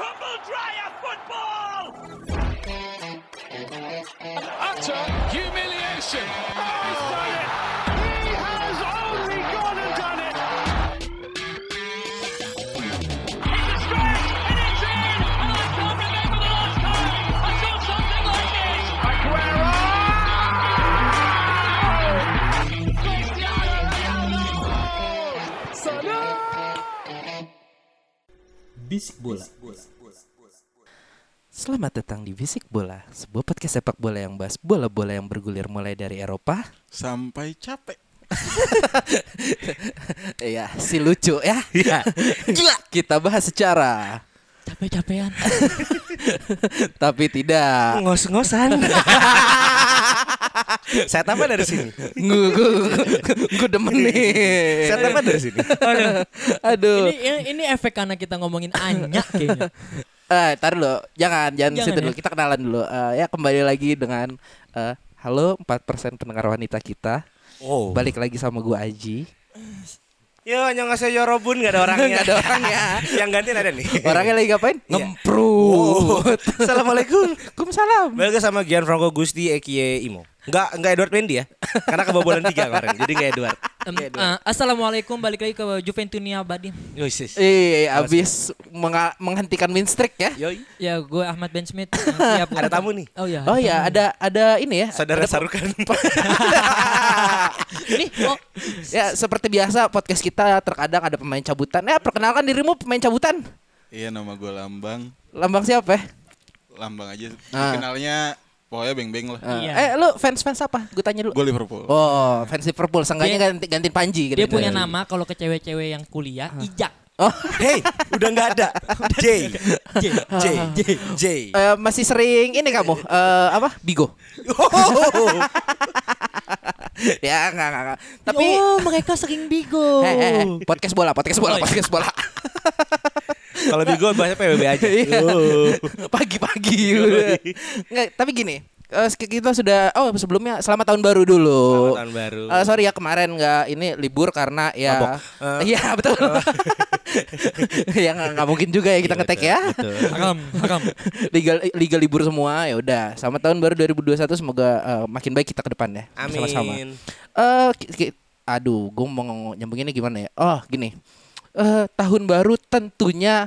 Andrea football! Utter humiliation. He has only gone and done it! It's a stretch and it's in! And I can't remember the last time I saw something like this! Aguero! Cristiano Ronaldo! Bisik bola. Selamat datang di Bisik Bola, sebuah podcast sepak bola yang bahas bola-bola yang bergulir mulai dari Eropa. Sampai capek. Iya, si lucu ya. Gila. Kita bahas secara capek-capean tapi tidak ngos-ngosan Saya tambah dari sini. gue gue demen nih. Saya tambah dari sini. Aduh. ini, ini ini efek karena kita ngomongin anyak kayaknya Eh, tar dulu. Jangan, jangan, Jangan situ dulu. ya. Kita kenalan dulu. Eh, ya kembali lagi dengan eh, halo 4% pendengar wanita kita. Oh. Balik lagi sama gue Aji. Yo, nyongasnya Yorobun gak ada orangnya. Nggak ada orangnya. Yang gantiin ada nih. Orangnya lagi ngapain? Eh. Iya. Oh. Ngemprut. Assalamualaikum. Kumsalam. Balik lagi sama Gianfranco Gusti Ekie Imo. Enggak, enggak Edward Mendy ya. Karena kebobolan tiga kemarin. Jadi enggak Edward. Em, eh, assalamualaikum balik lagi ke Juventunia Badim Yoi, sis. Eh, abis menga- menghentikan min streak ya. Yoi. ya gue Ahmad Ben Smith Siap, Ada tamu nih. oh ya Oh ya, ada ada ini ya. Saudara Sarukan. ini oh Ya, seperti biasa podcast kita terkadang ada pemain cabutan. Ya, perkenalkan dirimu pemain cabutan. Iya nama gue Lambang. Lambang siapa ya? Lambang aja. Ah. Dikenalnya pokoknya beng-beng lah. Eh, Iya. Eh, lu fans-fans apa? Gue tanya dulu. Gue Liverpool. Oh, fans Liverpool. Seenggaknya Dia- ganti, gantiin Panji gitu. dia punya nama kalau ke cewek-cewek yang kuliah Ijak Oh, Hey, udah enggak ada. J. J. J. J. J. eh, masih sering ini kamu eh, apa? Bigo. Oh. ya, enggak enggak. enggak. Tapi oh mereka sering bigo eh, eh, eh, podcast bola, podcast bola, podcast bola. Kalau Bigo bahasnya PBB aja. Iya. Oh. Pagi-pagi. udah. Enggak, tapi gini. eh, kita sudah oh sebelumnya selamat tahun baru dulu. Selamat Oh, tahun baru. Eh, sorry ya kemarin nggak ini libur karena ya Mabok. Eh. iya betul. ya nggak nggak mungkin juga ya kita Iya, ngetek betul, ya. betul. haram haram liga liga libur semua ya udah. Selamat tahun baru 2021 semoga eh, makin baik kita ke depan ya. Sama-sama. Amin. Eh, ki- ki- aduh, gue mau ngomong- nyambunginnya gimana ya? Oh, gini. Eh, tahun baru tentunya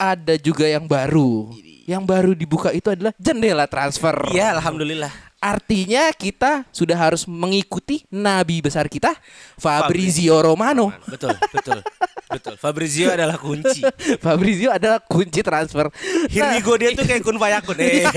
ada juga yang baru. Yang baru dibuka itu adalah jendela transfer. Iya, alhamdulillah. Artinya kita sudah harus mengikuti nabi besar kita Fabrizio Romano. Betul, betul. Betul. Fabrizio adalah kunci. Fabrizio adalah kunci transfer. Nah, Hirnigo dia tuh kayak kun fayakun. Eh. Iya.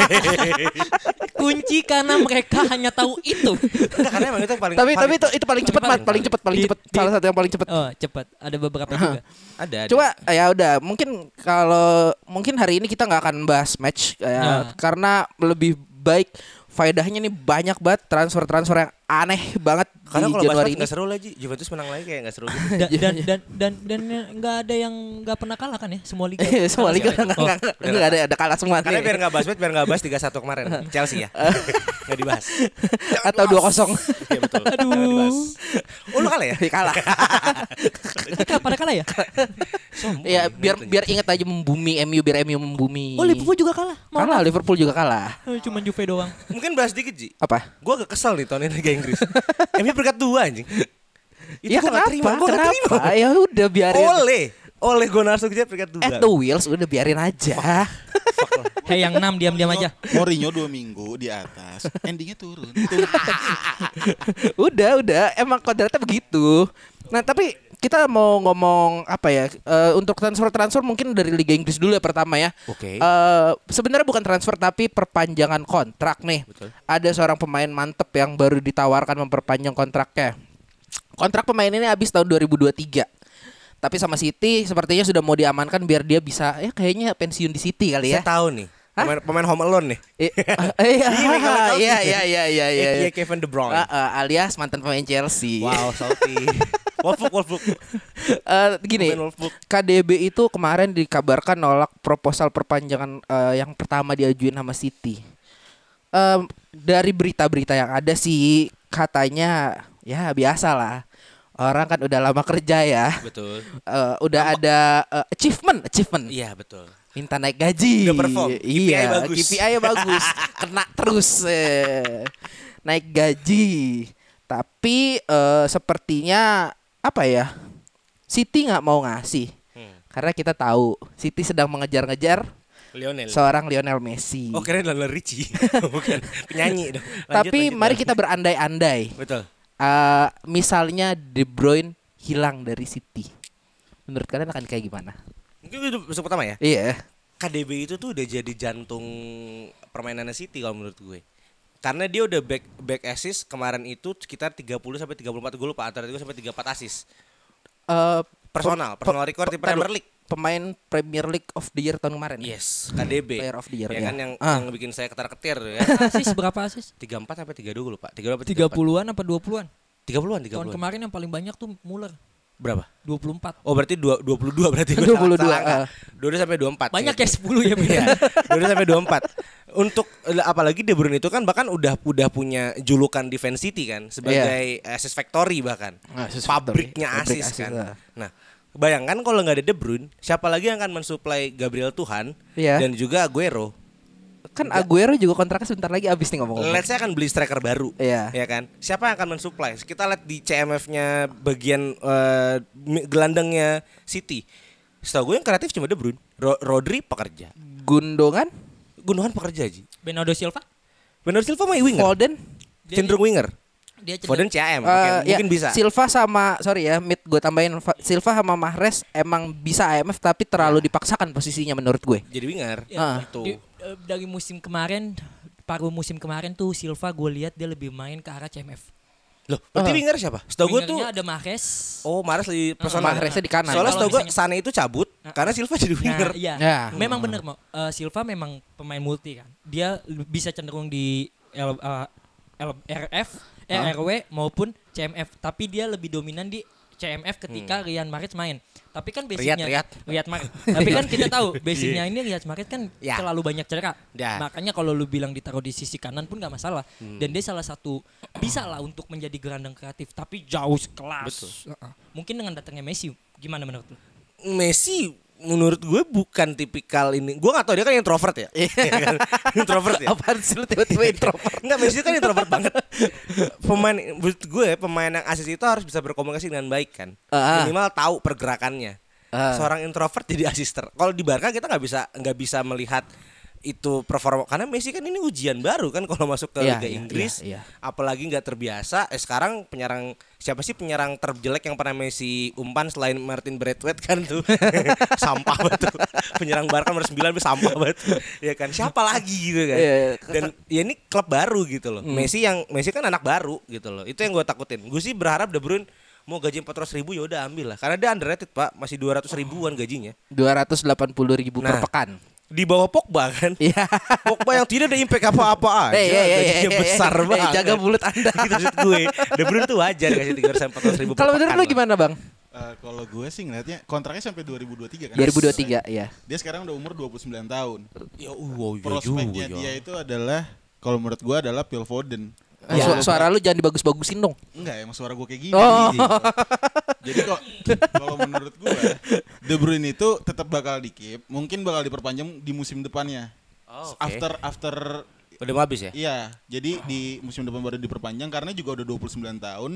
kunci karena mereka hanya tahu itu Nah, karena emang itu yang paling tapi tapi paling- itu, itu paling cepat, Mat. paling- paling cepat, paling di- cepat. di- Salah satu yang paling cepat. oh cepat ada beberapa juga ada, ada. Coba eh, ya udah mungkin kalau mungkin hari ini kita nggak akan bahas match eh, Nah. karena lebih baik faedahnya nih banyak banget transfer-transfer yang aneh banget di karena kalau Januari Barca ini. Iya. nggak seru lagi. Juventus menang lagi kayak nggak seru gitu. dan dan dan dan dan nggak ada yang nggak pernah kalah kan ya semua liga Semua liga Kalah nggak semua. nggak- nggak ada ada kalah semua Iya, Karena nih. biar nggak bahas bet, biar nggak bahas 3-1 kemarin Chelsea ya. Nggak dibahas. Iya, atau 2-0 Iya betul. Aduh. Oh lu kalah ya? Iya, kalah. Oh, kita pada kalah ya ya Gitu biar biar ingat aja membumi MU biar MU membumi. oh Liverpool juga kalah Maaf. Kalah Liverpool juga kalah. Eh, cuman Juve doang Mungkin bahas dikit Ji. Apa? Gue agak kesel nih tahun ini Liga Inggris. MU peringkat dua anjing. Itu ya gua nggak kenapa? terima, gua nggak kenapa? terima. Ya udah biarin. Oleh, oleh Gunnar Solskjaer peringkat dua. At the wheels udah biarin aja. Hei yang 6 diam-diam aja Oh, Mourinho dua minggu di atas, endingnya turun. udah udah emang kodratnya begitu nah tapi kita mau ngomong apa ya eh, untuk transfer transfer mungkin dari Liga Inggris dulu ya pertama ya Oke. Eh, sebenarnya bukan transfer tapi perpanjangan kontrak nih Betul. ada seorang pemain mantep yang baru ditawarkan memperpanjang kontraknya kontrak pemain ini habis tahun 2023 tapi sama City sepertinya sudah mau diamankan biar dia bisa ya kayaknya pensiun di City kali ya. Saya tahu nih. Hah? Pemain, pemain Home Alone nih. Eh, eh, Michael Iya Jordan. iya iya iya iya. AKA Kevin De Bruyne. Ah, ah, alias mantan pemain Chelsea. Wow, salty. Wolfsburg, Wolfsburg. Eh, gini, Pemain Wolfsburg. KDB itu kemarin dikabarkan nolak proposal perpanjangan eh, yang pertama diajuin sama City. Em, dari berita-berita yang ada sih katanya ya biasa lah orang kan udah lama kerja ya. Betul. Eh, udah ada eh, achievement, achievement. Iya betul. Minta naik gaji. Udah perform. KPI Iya, bagus. KPI bagus. Kena terus. eh. Naik gaji. Tapi eh, sepertinya apa ya? Siti nggak mau ngasih. Karena kita tahu Siti sedang mengejar-ngejar Hmm. Lionel. seorang Lionel Messi. oh keren Lionel Richie. Bukan penyanyi dong. Lanjut, Tapi lanjut, mari lanjut. kita berandai-andai. Betul. Eh, misalnya De Bruyne hilang dari City. Menurut kalian akan kayak gimana? Mungkin itu besok pertama ya. Iya. KDB itu tuh udah jadi jantung permainannya City kalau menurut gue. Karena dia udah back back assist kemarin itu sekitar 30 sampai 34 gue lupa antara 3 sampai 34 assist. Eh, Personal, pe- personal record di pe- Premier League. Pemain Premier League of the Year tahun kemarin. Yes, KDB. Player of the year, ya ya. kan yang, Ah. yang bikin saya ketar-ketir ya. Asis berapa asis? 34 sampai 32 gue lupa. 30 apa 34? 30-an apa 20-an? 30-an, 30-an. Tahun kemarin yang paling banyak tuh Muller, Berapa? 24. Oh berarti dua, 22 berarti gua 22, salah angka. ah. 22 sampai 24 Banyak ya Iya. 10 ya beda. Iya, 22 sampai 24 Untuk eh, apalagi De Bruyne itu kan bahkan udah udah punya julukan defense city kan Sebagai assist factory bahkan Ah, assist Pabriknya factory. Pabrik assist assist, kan ah. Nah bayangkan kalau nggak ada De Bruyne Siapa lagi yang akan mensuplai Gabriel Tuhan Iya. Dan juga Aguero Kan Aguero juga kontraknya sebentar lagi habis nih ngomong. Let's say akan beli striker Oh, baru, Iya. ya kan? Siapa yang akan mensuplai? Kita lihat di CMF-nya bagian eh, mi- gelandangnya City. Setahu gue yang kreatif cuma De Bruyne, Ro- Rodri pekerja, Gundongan, Gundogan pekerja aji. Bernardo Silva Benar Silva mah winger, Foden, cenderung winger. dia Foden eh, CM, oke, ya, mungkin bisa. Silva sama sorry ya, mid gue tambahin Fa- Silva sama Mahrez emang bisa AMF tapi Iya. terlalu dipaksakan posisinya menurut gue. Jadi winger. Iya, Ah. Gitu. Di- eh, dari musim kemarin paruh musim kemarin tuh Silva gue lihat dia lebih main ke arah CMF. Loh, Ah. berarti winger siapa? Setahu gue tuh Wingernya ada Ah, Mahrez. Oh, Mares lagi personal. Mahreznya di kanan. Soalnya Kalau setahu gue misalnya- Sane itu cabut karena Silva jadi winger. Nah, iya. Ya. Memang bener mau. Eh, Silva memang pemain multi kan. Dia l- bisa cenderung di L, eh, L- RF, eh, RW maupun CMF, tapi dia lebih dominan di CMF ketika Rian Mahrez main. Tapi kan Hmm. basicnya Riyad. Iya. Riyad Mahrez. tapi kan kita tahu basicnya ini Riyad Mahrez kan Ya. terlalu banyak cerah. Ya. Hmm. Makanya kalau lu bilang ditaruh di sisi kanan pun nggak masalah. Dan dia salah satu bisa lah untuk menjadi gelandang kreatif, tapi jauh kelas. Mungkin dengan datangnya Messi gimana menurut lu? Messi menurut gue bukan tipikal ini. Gue gak tau dia kan introvert ya. Iya kan? introvert ya. Apaan sih lu tiba-tiba introvert? Enggak Messi kan introvert banget. Pemain menurut gue pemain yang asis itu harus bisa berkomunikasi dengan baik kan. Ah. Minimal tahu pergerakannya. Ah. Seorang introvert jadi asister. Kalau di Barca kita nggak bisa nggak bisa melihat itu performa karena Messi kan ini ujian baru kan kalau masuk ke Iya, Liga iya, Inggris iya, iya. apalagi nggak terbiasa eh sekarang penyerang siapa sih penyerang terjelek yang pernah Messi umpan selain Martin Braithwaite kan tuh sampah banget tuh. penyerang Barca nomor 9 tuh sampah banget ya kan siapa lagi gitu kan Iya, Hmm. iya. dan ya ini klub baru gitu loh Messi yang Messi kan anak baru gitu loh itu yang gue takutin gue sih berharap De Bruyne mau gaji 400 ribu ya udah ambil lah karena dia underrated pak masih 200 ribuan gajinya 280 ribu per Nah. pekan. di bawah Pogba kan Iya. Pogba yang tidak ada impact apa-apa aja Eh, eh, eh, eh, gajinya eh, besar eh, banget jaga mulut Anda. gitu maksud gue De Bruyne tuh wajar gaji 300 400 ribu per Kalau menurut pekan lu lah. gimana, Bang? Eh, kalau gue sih ngeliatnya kontraknya sampai 2023 kan. 2023, ya. Dia sekarang udah umur 29 tahun. ya wow ya juga Prospeknya dia itu adalah kalau menurut gue adalah Phil Foden. Iya. Su- Suara lu jangan dibagus-bagusin dong. Enggak, emang suara gue kayak gini. Oh. Jadi kok kalau menurut gue De Bruyne itu tetap bakal dikip, mungkin bakal diperpanjang di musim depannya. Oh, oke. After after udah mau habis ya iya, jadi di musim depan baru diperpanjang karena juga udah 29 tahun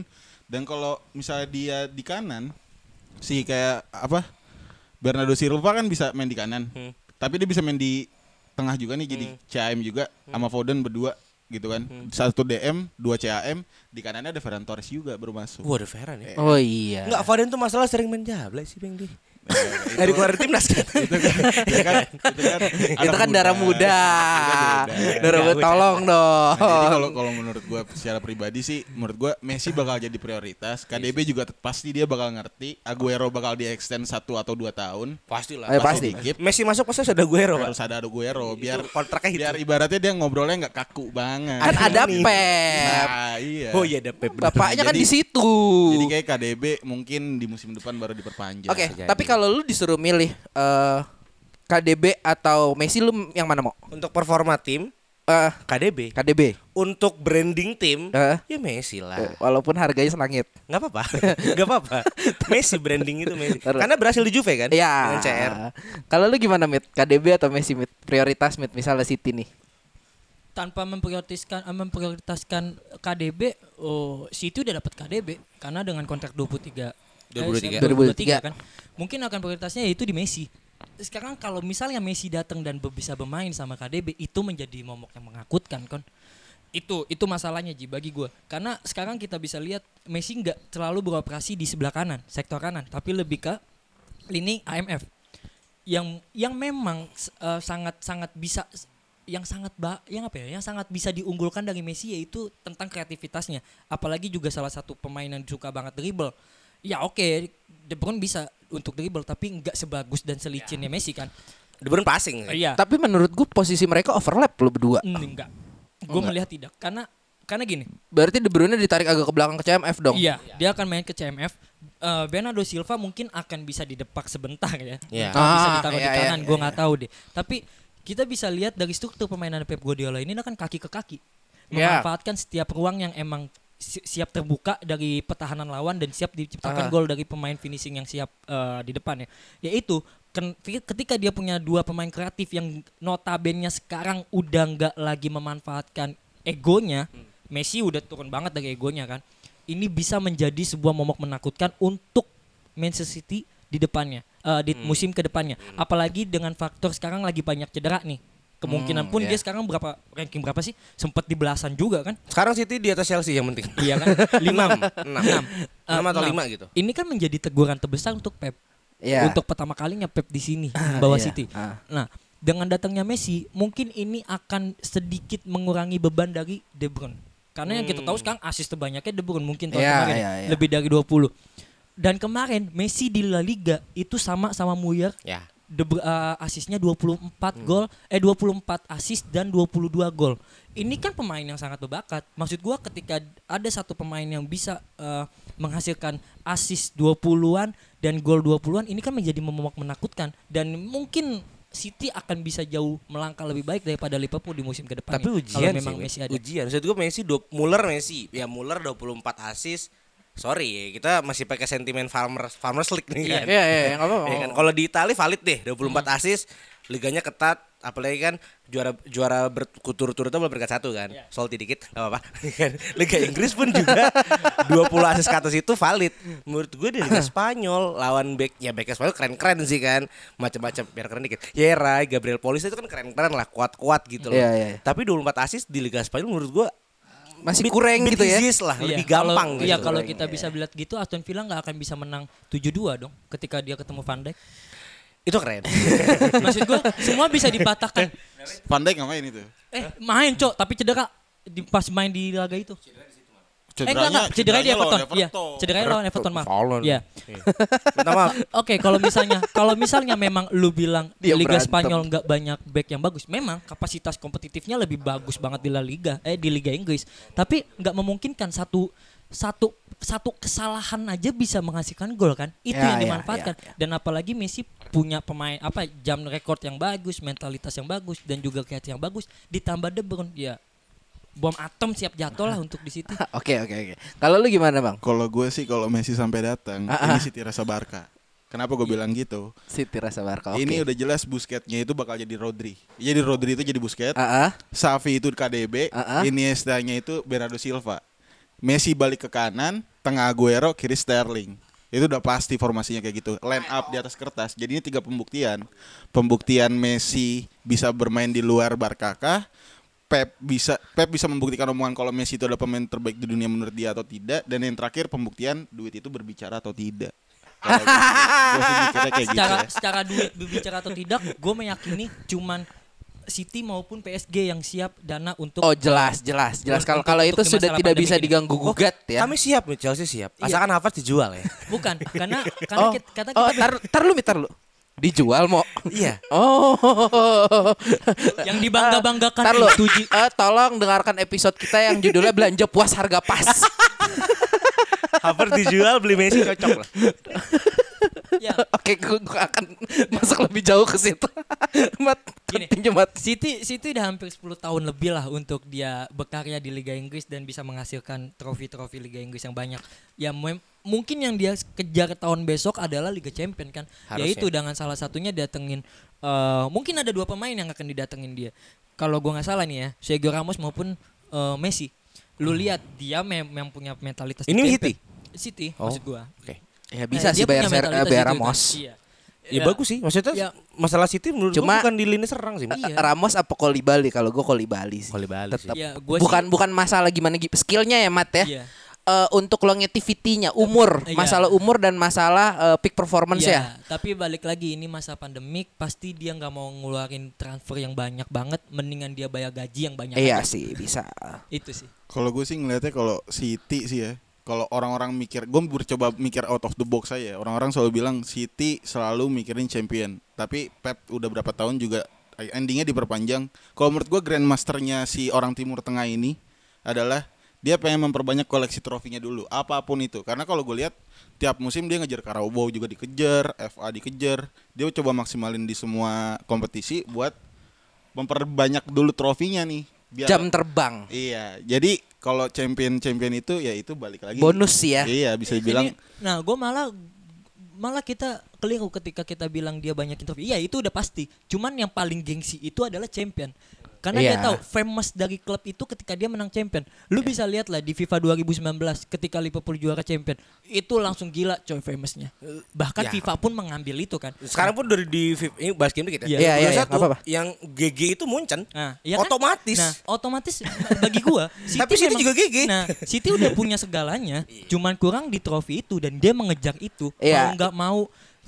dan kalau misalnya dia di kanan si kayak apa? Bernardo Silva kan bisa main di kanan. Hmm. Tapi dia bisa main di tengah juga nih jadi CAM juga Hmm. sama Foden berdua gitu kan. Satu DM, dua CAM, di kanannya ada Ferran Torres juga baru masuk. Wah ada Ferran ya Oh iya. Enggak, Foden tuh masalah sering main jablay sih Bang di. Dari keluar timnas kan. Iya. Nah, itu kan, itu kan, itu kan, anak itu kan darah muda. Itu kan darah muda. Darah muda tolong Nah, jadi dong. kalau kalau menurut gua secara pribadi sih menurut gua Messi bakal jadi prioritas, KDB juga tet- pasti dia bakal ngerti, Aguero bakal di extend satu atau dua tahun. Pastilah. Eh, pasti. dikip. Messi masuk pasti ada Guero, Harus Pak. ada Aguero biar kontraknya itu. biar ibaratnya dia ngobrolnya nggak kaku banget. Iya. Kan ada Nih. Pep. Nah, iya. Oh iya ada Pep. bener. Bapaknya kan di Jadi- situ. Jadi kayak KDB mungkin di musim depan baru diperpanjang. gitu. Oke, jadi. tapi kalau lu disuruh milih eh, KDB atau Messi lu yang mana mau? Untuk performa tim eh, KDB. KDB. Untuk branding tim, Eh. ya Messi lah. Eh, Walaupun harganya selangit. nggak apa-apa nggak apa-apa Messi branding itu Messi Terus. karena berhasil di Juve kan Iya. dengan CR Kalau lu gimana Mit? KDB atau Messi Mit? Prioritas Mit misalnya City nih. tanpa memprioritaskan eh, memprioritaskan KDB oh City udah dapat KDB karena dengan kontrak 23 23. eh, 23 kan mungkin akan prioritasnya yaitu di Messi sekarang kalau misalnya Messi datang dan be- bisa bermain sama KDB itu menjadi momok yang mengakutkan kon itu itu masalahnya Ji bagi gue karena sekarang kita bisa lihat Messi nggak terlalu beroperasi di sebelah kanan sektor kanan tapi lebih ke lini AMF yang yang memang s- eh, sangat sangat bisa yang sangat ba, yang apa ya yang sangat bisa diunggulkan dari Messi yaitu tentang kreativitasnya apalagi juga salah satu pemain yang suka banget dribble ya oke De Bruyne bisa untuk dribble tapi nggak sebagus dan selicinnya Messi kan De Bruyne passing sih. iya Hmm. Tapi menurut gue posisi mereka overlap lu berdua. enggak gue melihat tidak karena karena gini Berarti De Bruyne ditarik agak ke belakang ke CMF dong. Iya, dia akan main ke CMF. Eh Bernardo Silva mungkin akan bisa didepak sebentar ya. Iya. Atau bisa Ah, ditaruh iya, di iya, kanan, iya, gue nggak tahu deh. Tapi kita bisa lihat dari struktur permainan Pep Guardiola ini kan kaki ke kaki. Iya. Memanfaatkan setiap ruang yang emang si- siap terbuka dari pertahanan lawan dan siap diciptakan Ah. gol dari pemain finishing yang siap eh, di depan ya. Yaitu ken- ketika dia punya dua pemain kreatif yang notabene sekarang udah nggak lagi memanfaatkan egonya, Hmm. Messi udah turun banget dari egonya kan. Ini bisa menjadi sebuah momok menakutkan untuk Manchester City di depannya, eh, di Hmm. musim kedepannya. Apalagi dengan faktor sekarang lagi banyak cedera nih. Hmm, Kemungkinan pun iya. dia sekarang berapa ranking berapa sih? Sempat di belasan juga kan? sekarang City di atas Chelsea yang penting Iya kan? lima Lima. Eh, enam enam atau enam. lima gitu Ini kan menjadi teguran terbesar untuk Pep. Iya. Untuk pertama kalinya Pep di sini membawa iya. City. Ah. Nah, dengan datangnya Messi, mungkin ini akan sedikit mengurangi beban dari De Bruyne. Karena yang kita tahu sekarang asis terbanyaknya De Bruyne mungkin tahun Hmm. Iya, kemarin iya, iya. lebih dari 20. Dan kemarin Messi di La Liga itu sama sama Muyer ya De, Bru- eh, asisnya 24 Hmm. gol eh 24 asis dan 22 gol. Ini kan pemain yang sangat berbakat. Maksud gua ketika ada satu pemain yang bisa eh, menghasilkan asis 20-an dan gol 20-an ini kan menjadi momok menakutkan dan mungkin City akan bisa jauh melangkah lebih baik daripada Liverpool di musim ke depan. tapi ya. ujian Kalau sih memang Wit. Messi ada. ujian maksud gue Messi dua, Muller Messi ya Muller 24 asis sorry ya kita masih pakai sentimen farmer farmers league nih Iya, kan iya, iya, nggak Oh, apa-apa. Ya kan? Kalau di Itali valid deh 24 Hmm. asis, liganya ketat, apalagi kan juara juara berturut-turut itu berkat satu kan. Iya. Salty dikit nggak apa-apa. Kan? Liga Inggris pun juga 20 asis ke atas itu valid. Menurut gue di Liga Spanyol lawan back ya back Spanyol keren-keren sih kan. Macam-macam biar keren dikit. Yera, Gabriel Polisi itu kan keren-keren lah, kuat-kuat gitu loh. Iya, iya, iya. Tapi 24 asis di Liga Spanyol menurut gue Masih bit- kurang bit gitu ya. easiest lah, Iya, lebih kalau- gampang gitu. Iya, kalau kita bisa lihat gitu Aston Villa nggak akan bisa menang 7-2 dong ketika dia ketemu Van Dijk. itu keren. Maksud gua semua bisa dipatahkan. Pandai ngapain itu? Eh main cok tapi cedera di pas main di laga itu. eh enggak enggak cedera di lawan Everton. Iya. Everton. Cedera lawan Everton maaf. Fallen. Iya. Minta maaf. Oke, kalau misalnya kalau misalnya memang lu bilang Dia di Liga berantem. Spanyol nggak banyak back yang bagus, memang kapasitas kompetitifnya lebih bagus banget di La Liga eh di Liga Inggris. Tapi nggak memungkinkan satu satu satu kesalahan aja bisa menghasilkan gol kan? Itu Ya, yang ya, dimanfaatkan. ya, ya. Dan apalagi Messi punya pemain apa jam rekor yang bagus, mentalitas yang bagus dan juga kreatif yang bagus ditambah De Bruyne ya bom atom siap jatuh Nah, lah untuk di situ. Oke, oke, oke. Kalau lu gimana, Bang? Kalau gue sih kalau Messi sampai datang, ini City rasa Barca. Kenapa gue bilang gitu? City rasa Barca. Oke. Ini udah jelas busketnya itu bakal jadi Rodri. Jadi Rodri itu jadi busket. Ah, ah. Safi itu KDB, Ah, ah. Iniesta-nya itu Bernardo Silva. Messi balik ke kanan, tengah Aguero, kiri Sterling. Itu udah pasti formasinya kayak gitu. Line up di atas kertas. Jadi ini tiga pembuktian. Pembuktian Messi bisa bermain di luar Barkakah? Pep bisa Pep bisa membuktikan omongan kalau Messi itu adalah pemain terbaik di dunia menurut dia atau tidak dan yang terakhir pembuktian duit itu berbicara atau tidak. Kalau gua- gua sih mikirnya kayak gitu secara ya. secara duit berbicara atau tidak, gue meyakini cuman City maupun PSG yang siap dana untuk Oh, jelas, jelas, jelas. Kalau Untuk- kalau itu untuk di sudah masalah tidak pandemi bisa ini. Oh, diganggu gugat ya. Kami siap nih Chelsea siap. Iya. Asalkan Havertz dijual ya. bukan karena karena Oh, kita, karena oh, kita- tar, tar lu, Mit, tar lu. Dijual mau. Iya. Oh. yang dibangga-banggakan Tar lu. itu Ji. Eh, tolong dengarkan episode kita yang judulnya belanja puas harga pas. Havertz dijual beli Messi cocok lah. Ya. Oke, gue gue akan masuk lebih jauh ke situ. Mat, Gini. penting Mat. City City udah hampir 10 tahun lebih lah untuk dia berkarya di Liga Inggris dan bisa menghasilkan trofi-trofi Liga Inggris yang banyak. Ya mem- mungkin yang dia kejar tahun besok adalah Liga Champion kan. Harusnya. Yaitu dengan salah satunya datengin eh, mungkin ada dua pemain yang akan didatengin dia. Kalau gua nggak salah nih ya, Sergio Ramos maupun eh, Messi. Lu Hmm. lihat dia mem- memang punya mentalitas di Ini Champion. City? City Oh. maksud gua. Oke. Ya bisa Eh, sih dia bayar punya Ser- eh, mentalitas bayar itu kan. Ramos. Iya. Ya, bagus sih. Maksudnya Ya. masalah City menurut Cuma- gua bukan di lini serang sih. Iya. Eh, Ramos apa Kolibali kalau gue Kolibali sih. Kolibali Tetap. Iya, gua sih- bukan bukan masalah gimana gi- skillnya ya Mat ya. Iya. Eh, untuk longevity-nya, umur, Iya. masalah umur dan masalah eh, peak performance Iya, ya. tapi balik lagi ini masa pandemik pasti dia nggak mau ngeluarin transfer yang banyak banget, mendingan dia bayar gaji yang banyak. Iya aja. sih bisa. Itu sih. Kalau gue sih ngeliatnya kalau City sih ya. Kalau orang-orang mikir, gue bercoba mikir out of the box aja. ya. Orang-orang selalu bilang City selalu mikirin champion. Tapi Pep udah berapa tahun juga endingnya diperpanjang. Kalau menurut gue grandmasternya si orang Timur Tengah ini adalah dia pengen memperbanyak koleksi trofinya dulu, apapun itu. Karena kalau gue lihat tiap musim dia ngejar Carabao juga dikejar, FA dikejar. Dia coba maksimalin di semua kompetisi buat memperbanyak dulu trofinya nih. Biar Jam terbang. Iya, jadi kalau champion-champion itu ya itu balik lagi. Bonus sih ya. Iya, bisa dibilang Ini- nah, gue malah malah kita keliru ketika kita bilang dia banyak interview. Iya, itu udah pasti. Cuman yang paling gengsi itu adalah champion. Karena dia Iya. tahu famous dari klub itu ketika dia menang champion. Lu bisa lihat lah di FIFA 2019 ketika Liverpool juara champion, itu langsung gila coy famousnya. Bahkan Iya. Ya. FIFA pun mengambil itu kan. Sekarang pun dari di Fi- ini bahas game dikit Iya, ya. Iya. iya, iya, nggak Satu, apa-apa. Yang GG itu Munchen. Nah, iya kan? otomatis. Nah, otomatis bagi gua City Tapi City memang- juga gigi. Nah, City udah punya segalanya, cuman kurang di trofi itu dan dia mengejar itu. Kalau Iya. nggak mau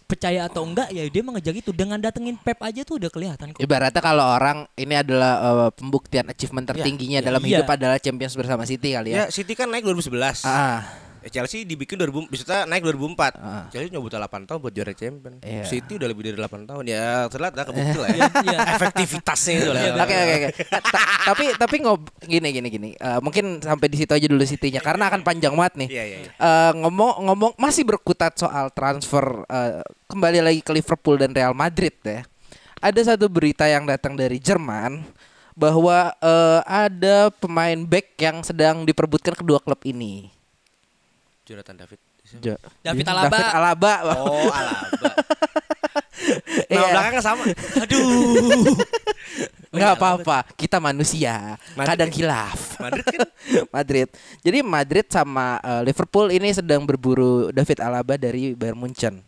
percaya atau enggak ya dia mengejar itu dengan datengin Pep aja tuh udah kelihatan kok. Ibaratnya kalau orang ini adalah eh, pembuktian achievement tertingginya dalam iya. hidup adalah Champions bersama City kali ya. Ya, City kan naik 2011. Ah, Eh, Chelsea dibikin 2000 bisa naik 2004. Ah. Chelsea nyebut 8 tahun buat juara champion. Iya. City udah lebih dari 8 tahun. Ya, telat lah kebukti lah ya. Iya, iya. Efektivitasnya itu lah. Oke oke oke. Ta- Tapi tapi ngob gini gini gini. Eh, mungkin sampai di situ aja dulu City-nya karena akan panjang banget nih. Iya, iya, iya. Eh, ngomong ngomong masih berkutat soal transfer eh, kembali lagi ke Liverpool dan Real Madrid ya. Ada satu berita yang datang dari Jerman bahwa eh, ada pemain back yang sedang diperbutkan kedua klub ini. Jonathan David. Jo- David Alaba. David Alaba. Oh, Alaba. Iya. Nama belakangnya sama. Aduh. Nggak apa-apa, kita manusia, Oh iya, Madrid kadang ya? hilaf. Madrid kan? Madrid. Jadi Madrid sama eh, Liverpool ini sedang berburu David Alaba dari Bayern Munchen.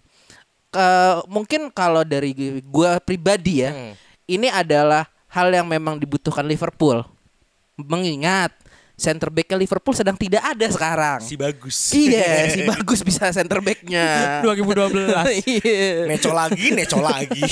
Ke- mungkin kalau dari gua pribadi ya, Hmm. ini adalah hal yang memang dibutuhkan Liverpool. Mengingat center back Liverpool sedang tidak ada sekarang. Si bagus. iya, si bagus bisa center backnya. 2012. Iya. Neco lagi, neco lagi.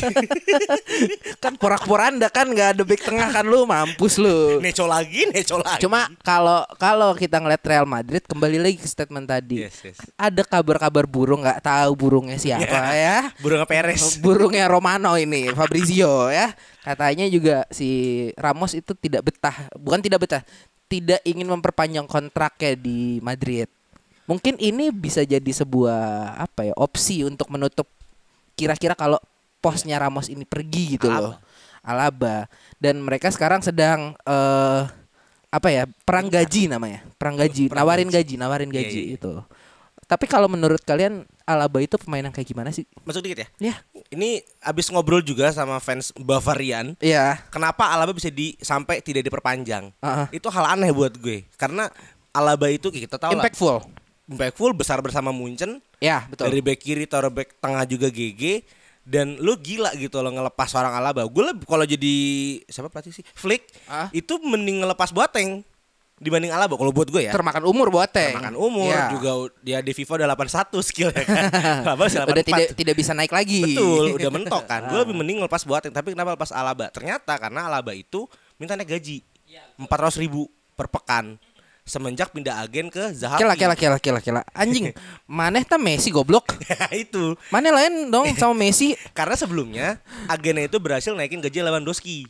kan porak-poranda kan nggak ada back tengah kan lu mampus lu. neco lagi, neco lagi. Cuma kalau kalau kita ngeliat Real Madrid kembali lagi ke statement tadi. Yes, Iya. yes. Ada kabar-kabar burung nggak tahu burungnya siapa ya. Burung Perez. Burungnya Romano ini, Fabrizio ya. Katanya juga si Ramos itu tidak betah, bukan tidak betah, tidak ingin memperpanjang kontraknya di Madrid. Mungkin ini bisa jadi sebuah apa ya, opsi untuk menutup kira-kira kalau posnya Ramos ini pergi gitu loh. Alaba dan mereka sekarang sedang eh apa ya perang gaji namanya perang gaji Perang nawarin gaji. gaji nawarin Iya, gaji iya. itu tapi kalau menurut kalian Alaba itu pemain yang kayak gimana sih Masuk dikit ya. ya Ini abis ngobrol juga sama fans Bavarian. Iya Kenapa Alaba bisa di sampai tidak diperpanjang? Ah, ah. Itu hal aneh buat gue. Karena Alaba itu kita tahu lah impactful impactful besar bersama Munchen. ya betul Dari back kiri taruh back tengah juga GG dan lu gila gitu lo ngelepas seorang Alaba. Gue lebih kalau jadi siapa pelatih sih? Flick Ah. itu mending ngelepas Boateng dibanding Alaba kalau buat gue ya. termakan umur Boateng Makan umur Iya. juga u- dia di FIFA udah 81 skillnya kan. Alaba masih udah 84. tidak Ah. tidak bisa naik lagi Betul, udah mentok kan. Gue lebih mending lepas Boateng, tapi kenapa lepas Alaba? Ternyata karena Alaba itu minta naik gaji. 400 ribu per pekan semenjak pindah agen ke Zahavi. kela kela kela kela kela anjing maneh ta Messi goblok itu. maneh lain dong Iya. sama Messi Karena sebelumnya agennya itu berhasil naikin gaji Lewandowski.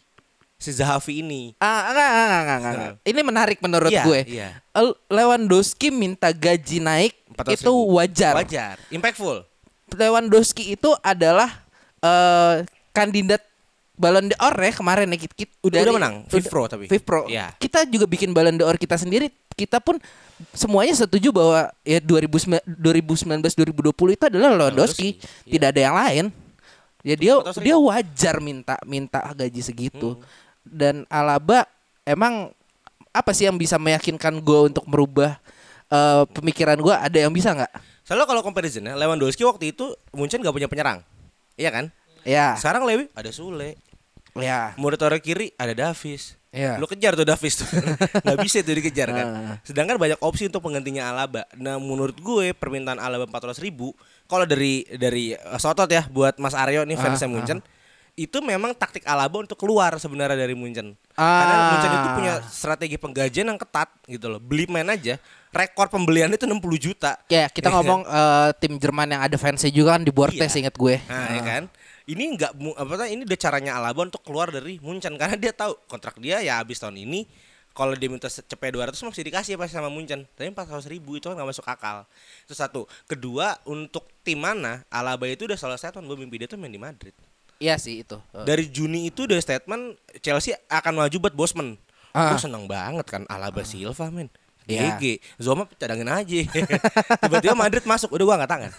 Si Zahavi ini. Ah, enggak, enggak, enggak, enggak, enggak. Ini menarik menurut Iya, gue. iya. El- Lewandowski minta gaji naik 400 itu ribu. wajar. Wajar. Impactful. Lewandowski itu adalah eh, kandidat Ballon d'Or ya kemarin ya kita Udah- udah menang, FIFPro tapi. Pro. Iya. Kita juga bikin Ballon d'Or kita sendiri. Kita pun semuanya setuju bahwa ya 2019 2020 itu adalah Lewandowski, Lewandowski, iya. tidak ada yang lain. Ya dia Atau sering- dia wajar minta minta gaji Hmm. segitu. Dan Alaba emang apa sih yang bisa meyakinkan gue untuk merubah eh, pemikiran gue? Ada yang bisa nggak? Soalnya kalau comparison Lewandowski waktu itu Munchen gak punya penyerang. Iya kan? Ya, Sekarang Lewi ada Sule. ya. Murid orang kiri ada Davis. Iya. Lu kejar tuh Davis tuh. Nggak bisa itu dikejar kan. Ah. Sedangkan banyak opsi untuk penggantinya Alaba. Nah menurut gue permintaan Alaba 400 ribu. Kalau dari dari eh, Sotot ya buat Mas Aryo nih Ah, fansnya Munchen. Itu memang taktik Alaba untuk keluar sebenarnya dari Munchen. Karena Ah. Munchen itu punya strategi penggajian yang ketat gitu loh. Beli main aja. Rekor pembeliannya itu 60 juta. Ya, kita Iya kan? ngomong eh, tim Jerman yang ada fansnya juga kan di Bortes Iya. inget gue. Nah, ya kan? Ini nggak mu- apa tuh, ini udah caranya Alaba untuk keluar dari Munchen karena dia tahu kontrak dia ya habis tahun ini. Kalau dia minta cepet 200 masih dikasih pasti sama Munchen. Tapi 400 ribu itu kan nggak masuk akal. Itu satu. Kedua, untuk tim mana Alaba itu udah selesai tahun gue mimpi dia tuh main di Madrid. Iya sih itu. Eh, Dari Juni itu udah statement Chelsea akan maju buat Bosman. Ah. Gue seneng banget kan Alaba Silva men. Iya. GG, Zoma cadangin aja. Tiba-tiba Madrid masuk, udah gua angkat tangan.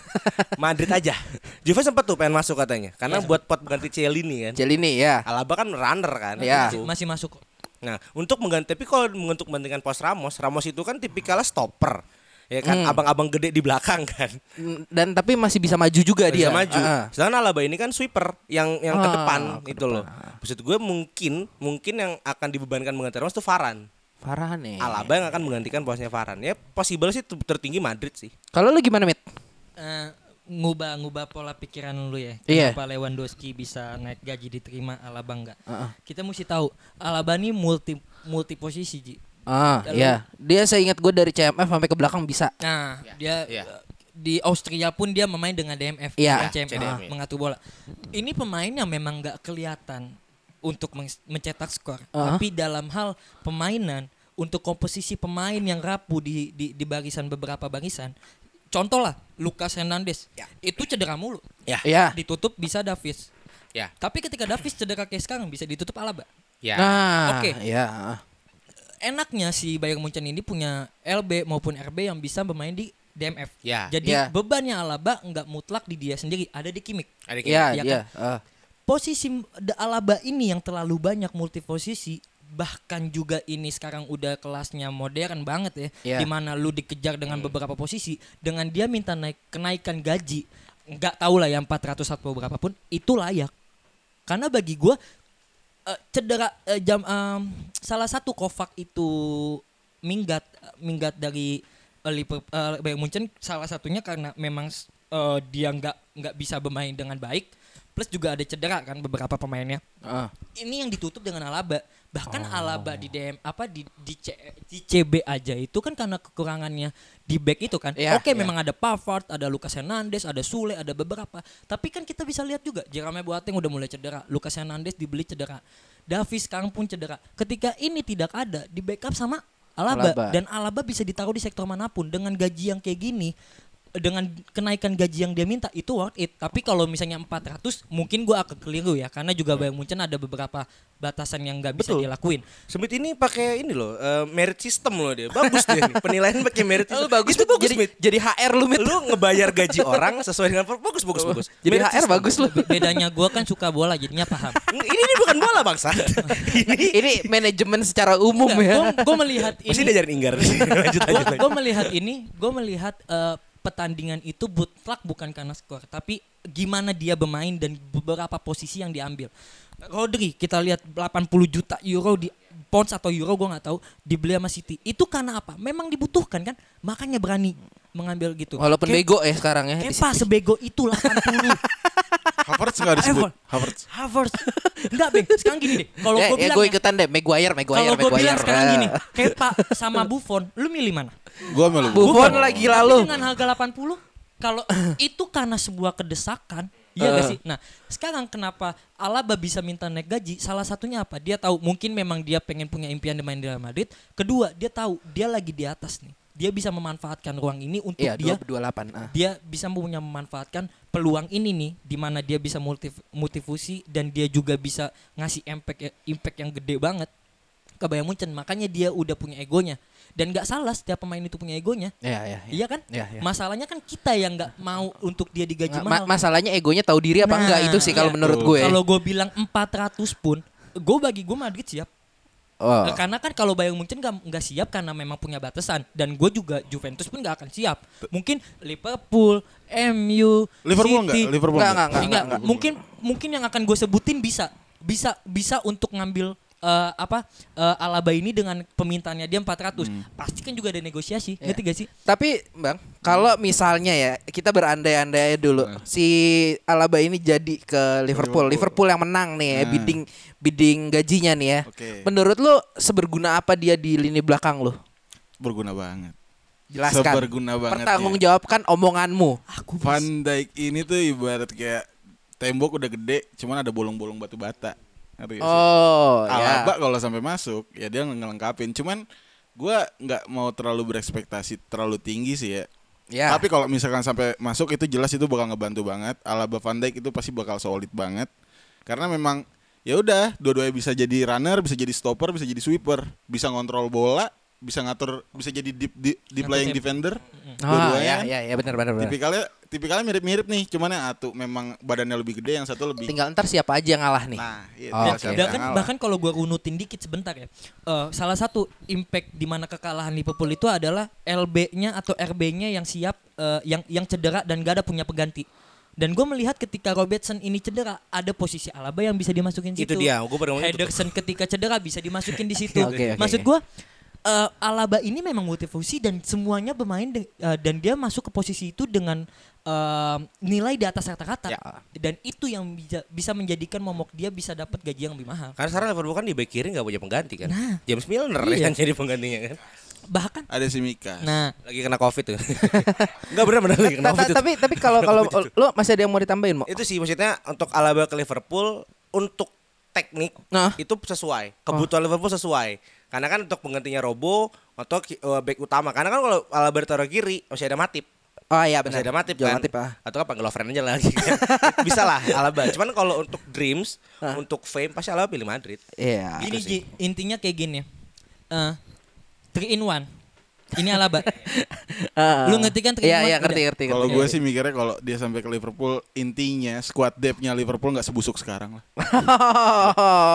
Madrid aja. Juve sempat tuh pengen masuk katanya, Iya. karena buat pot pengganti Celini kan. Celini ya. Alaba kan runner kan. Iya. Gitu. Masih masuk kok. Nah, untuk mengganti tapi kalau untuk menggantikan pos Ramos, Ramos itu kan tipikalnya stopper. Ya kan Hmm. abang-abang gede di belakang kan. N- Dan tapi masih bisa maju juga dia. Bisa Eh, maju. Iya. Heeh. Sedangkan Alaba ini kan sweeper yang yang ke Ah, depan ke itu depan. loh. Maksud gue mungkin mungkin yang akan dibebankan mengganti Ramos itu Varane. Parah nih. Alaba yang akan menggantikan posnya Varane. Ya possible sih ter- tertinggi Madrid sih. Kalau lu gimana, Mit? Eh, ngubah-ngubah pola pikiran lu ya. Iya. Kenapa Lewandowski bisa naik gaji diterima Alaba enggak? Heeh. Kita mesti tahu Alaba ini multi multi posisi, Ji. Ah, Kalau- iya. Dia saya ingat gue dari CMF sampai ke belakang bisa. Nah, dia Iya. eh, di Austria pun dia memain dengan DMF, Iya, dengan CMF, CDM, iya. mengatur ah, bola. Ini pemain yang memang nggak kelihatan untuk meng- mencetak skor, Uh-huh. tapi dalam hal pemainan untuk komposisi pemain yang rapuh di di, di barisan beberapa barisan. Contoh lah Lucas Hernandez. Ya. Itu cedera mulu. Ya. Iya. Ditutup bisa Davis. Ya. Tapi ketika Davis cedera kayak sekarang bisa ditutup Alaba. Ya. Nah, Oke. iya. enaknya si Bayern Munchen ini punya LB maupun RB yang bisa bermain di DMF. Ya. Jadi Ya. bebannya Alaba nggak mutlak di dia sendiri, ada di Kimik. Ada gitu. Iya, Iya kan? iya. ah. Posisi m- da- Alaba ini yang terlalu banyak multiposisi bahkan juga ini sekarang udah kelasnya modern banget Ya. Hmm. ya, Dimana lu dikejar dengan beberapa posisi dengan dia minta naik kenaikan gaji nggak tahu lah yang 400 atau berapapun itu layak karena bagi gua eh, cedera eh, jam em, salah satu Kovac itu minggat minggat dari eh, Liverpool eh, Bayern Munchen salah satunya karena memang s- eh, dia nggak nggak bisa bermain dengan baik plus juga ada cedera kan beberapa pemainnya Ah. ini yang ditutup dengan Alaba bahkan Oh. Alaba di DM apa di di, C- di CB aja itu kan karena kekurangannya di back itu kan Iya, oke iya. memang ada Pavard ada Lucas Hernandez ada Sule ada beberapa tapi kan kita bisa lihat juga Jerome Boateng udah mulai cedera Lucas Hernandez dibeli cedera Davis sekarang pun cedera ketika ini tidak ada di backup sama Alaba, Alaba. dan Alaba bisa ditaruh di sektor manapun dengan gaji yang kayak gini dengan kenaikan gaji yang dia minta itu worth it tapi kalau misalnya 400 mungkin gua akan keliru ya karena juga Bayang Munchen ada beberapa batasan yang nggak bisa Betul. dilakuin Smith ini pakai ini loh, eh, merit system loh dia. Bagus dia. nih. Penilaian pakai merit Lu Oh, system. bagus, Itu Mit. bagus, jadi, Mit. jadi HR lu, Mit. Lu ngebayar gaji orang sesuai dengan bagus bagus bagus. Oh, Jadi Merit HR system. bagus lu. Be- bedanya gua kan suka bola jadinya paham ini, ini bukan bola bangsa. ini Ini manajemen secara umum Iya, Nggak, gua, ya. gua melihat masih ini diajarin inggar. lanjut gua, lanjut. lanjut. gua melihat ini gua melihat eh, pertandingan itu butlak bukan karena skor tapi gimana dia bermain dan beberapa posisi yang diambil Rodri kita lihat 80 juta euro di pounds atau euro gua nggak tahu dibeli sama City itu karena apa memang dibutuhkan kan makanya berani mengambil gitu Walaupun Kayak- bego ya sekarang ya. Kepa sebego itu 80 Havertz nggak disebut. Effort. Havertz. Havertz Enggak Beng Sekarang gini deh Kalau Ya, gue ya bilang gue ya, ikutan deh Maguire, Maguire, Kalau gue Maguire. bilang sekarang Ah. gini Kepa sama Buffon Lu milih mana? Gua malu. Buffon lagi lalu. Dengan harga 80 kalau itu karena sebuah kedesakan Iya gak sih? Nah sekarang kenapa Alaba bisa minta naik gaji Salah satunya apa? Dia tahu mungkin memang dia pengen punya impian di main di Real Madrid Kedua dia tahu dia lagi di atas nih dia bisa memanfaatkan ruang ini untuk Iya, dia 228. Ah. dia bisa punya memanfaatkan peluang ini nih di mana dia bisa multi multifusi dan dia juga bisa ngasih impact ya- impact yang gede banget ke Bayern Munchen makanya dia udah punya egonya dan nggak salah setiap pemain itu punya egonya Iya, iya. iya kan Iya, iya. masalahnya kan kita yang nggak mau untuk dia digaji Nggak, ma- mahal masalahnya egonya tahu diri apa ya, Nah, enggak itu sih kalau iya. menurut gue. kalau gue bilang 400 pun gue bagi gue Madrid siap Oh. Eh, Karena kan kalau Bayern Munchen gak, nggak siap karena memang punya batasan dan gue juga Juventus pun gak akan siap. Mungkin Liverpool, MU, Liverpool City, enggak? Liverpool Enggak, enggak? enggak, Enggak, mungkin mungkin yang akan gue sebutin bisa bisa bisa untuk ngambil eh, apa eh, Alaba ini dengan pemintaannya dia 400 pasti kan juga ada Hmm. negosiasi Iya. ngerti gak sih Tapi Bang, kalau Hmm. misalnya ya kita berandai-andai dulu Hmm. si Alaba ini jadi ke Liverpool. Liverpool yang menang nih ya, Nah. bidding bidding gajinya nih ya. Oke. Menurut lu seberguna apa dia di lini belakang lu? Berguna banget. Jelaskan. Seberguna banget Iya Pertanggung ya. jawabkan omonganmu. aku Van Dijk ini tuh ibarat kayak tembok udah gede, cuman ada bolong-bolong batu bata. Ngerti gak sih? Oh, ya. Alaba kalau sampai masuk ya dia ngelengkapin. Cuman gua nggak mau terlalu berekspektasi terlalu tinggi sih ya. Ya. Tapi kalau misalkan sampai masuk itu jelas itu bakal ngebantu banget. Alaba Van Dijk itu pasti bakal solid banget. Karena memang ya udah dua-duanya bisa jadi runner, bisa jadi stopper, bisa jadi sweeper, bisa ngontrol bola, bisa ngatur, bisa jadi deep deep, deep Ngatur lying tempo. defender. Ah, Dua-duanya ya, kan. ya, ya benar benar benar. Tipikalnya tipikalnya mirip-mirip nih, cuman yang satu memang badannya lebih gede, yang satu lebih Tinggal ntar siapa aja yang ngalah nih. Nah, iya, Oh, tinggal oke. siapa yang Dan kan ngalah. bahkan kalau gua runutin dikit sebentar ya. eh, salah satu impact di mana kekalahan Liverpool itu adalah LB-nya atau RB-nya yang siap eh, yang yang cedera dan gak ada punya pengganti. Dan gue melihat ketika Robertson ini cedera, ada posisi Alaba yang bisa dimasukin Itu situ. dia, gua baru ngomong itu. Henderson ketika cedera bisa dimasukin di situ. Oke, oke, Maksud oke. gua eh, Alaba ini memang multifusi dan semuanya bermain de- eh, dan dia masuk ke posisi itu dengan eh, nilai di atas rata-rata Ya. dan itu yang bisa, bisa menjadikan momok dia bisa dapat gaji yang lebih mahal. Karena sekarang Liverpool kan di back kiri nggak punya pengganti kan. Nah. James Milner yang Iya. jadi penggantinya kan. Bahkan ada si Mika. nah Lagi kena covid tuh. Enggak benar benar lagi kena Ta- ta- covid. itu. tapi tapi kalau Kena kalau covid itu. lo masih ada yang mau ditambahin mau? itu sih maksudnya untuk Alaba ke Liverpool untuk teknik Nah. itu sesuai kebutuhan Liverpool sesuai karena kan untuk penggantinya Robo atau ki- eh, back utama karena kan kalau Alaba taruh kiri masih ada Matip Oh iya masih benar. ada Matip Jual kan Matip, ah. atau kan panggil Lovren aja lagi bisa lah Alaba cuman kalau untuk dreams Nah. untuk fame pasti Alaba pilih Madrid Iya. gini sih. Ji, intinya kayak gini. Eh, three in one. Ini Alaba. Ah. Lu ngerti kan terima Iya, iya, tidak? ngerti, ngerti. Kalau ngerti. gue sih mikirnya kalau dia sampai ke Liverpool intinya squad depth-nya Liverpool nggak sebusuk sekarang lah.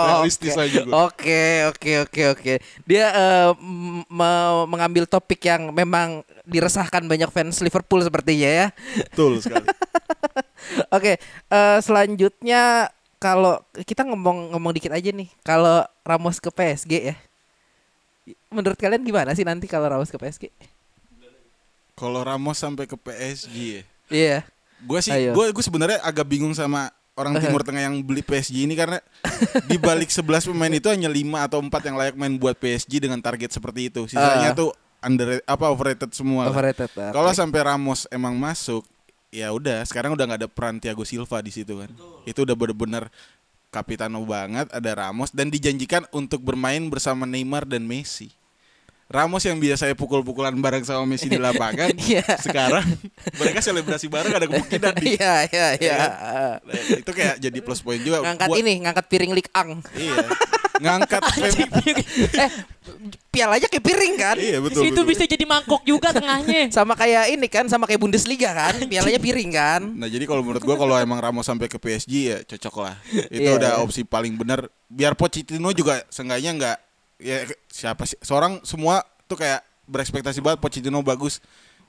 Realistis Oke. aja gue. Oke, oke, oke, oke. Dia eh, m- me- mengambil topik yang memang diresahkan banyak fans Liverpool sepertinya ya. Betul sekali. Oke, eh, selanjutnya kalau kita ngomong-ngomong dikit aja nih, kalau Ramos ke PSG ya. Menurut kalian gimana sih nanti kalau Ramos ke PSG? Kalau Ramos sampai ke PSG, ya. Iya. gue sih Ayo. gue gue sebenarnya agak bingung sama orang Timur Tengah yang beli PSG ini karena di balik 11 pemain itu hanya 5 atau 4 yang layak main buat PSG dengan target seperti itu. Ah. Sisanya tuh under apa overrated semua. lah. Overrated. ah, Kalau sampai Ramos emang masuk, ya udah. Sekarang udah nggak ada peran Thiago Silva di situ kan. Itu udah bener-bener kapitano banget. Ada Ramos dan dijanjikan untuk bermain bersama Neymar dan Messi. Ramos yang biasa pukul-pukulan bareng sama Messi di lapangan, Iya. sekarang mereka selebrasi bareng ada kemungkinan di. Iya, iya, iya. Nah, itu kayak jadi plus point juga. Ngangkat Buat- ini, ngangkat piring Likang. Iya. Ngangkat fame. eh, pialanya kayak piring kan? Iya betul. itu betul. bisa jadi mangkok juga tengahnya. Sama kayak ini kan, sama kayak Bundesliga kan, pialanya piring kan. Nah jadi kalau menurut gua kalau emang Ramos sampai ke PSG ya cocok lah. Itu Iya, udah iya. opsi paling benar. Biar Pochettino juga seenggaknya nggak ya siapa sih seorang semua tuh kayak berekspektasi banget Pochettino bagus.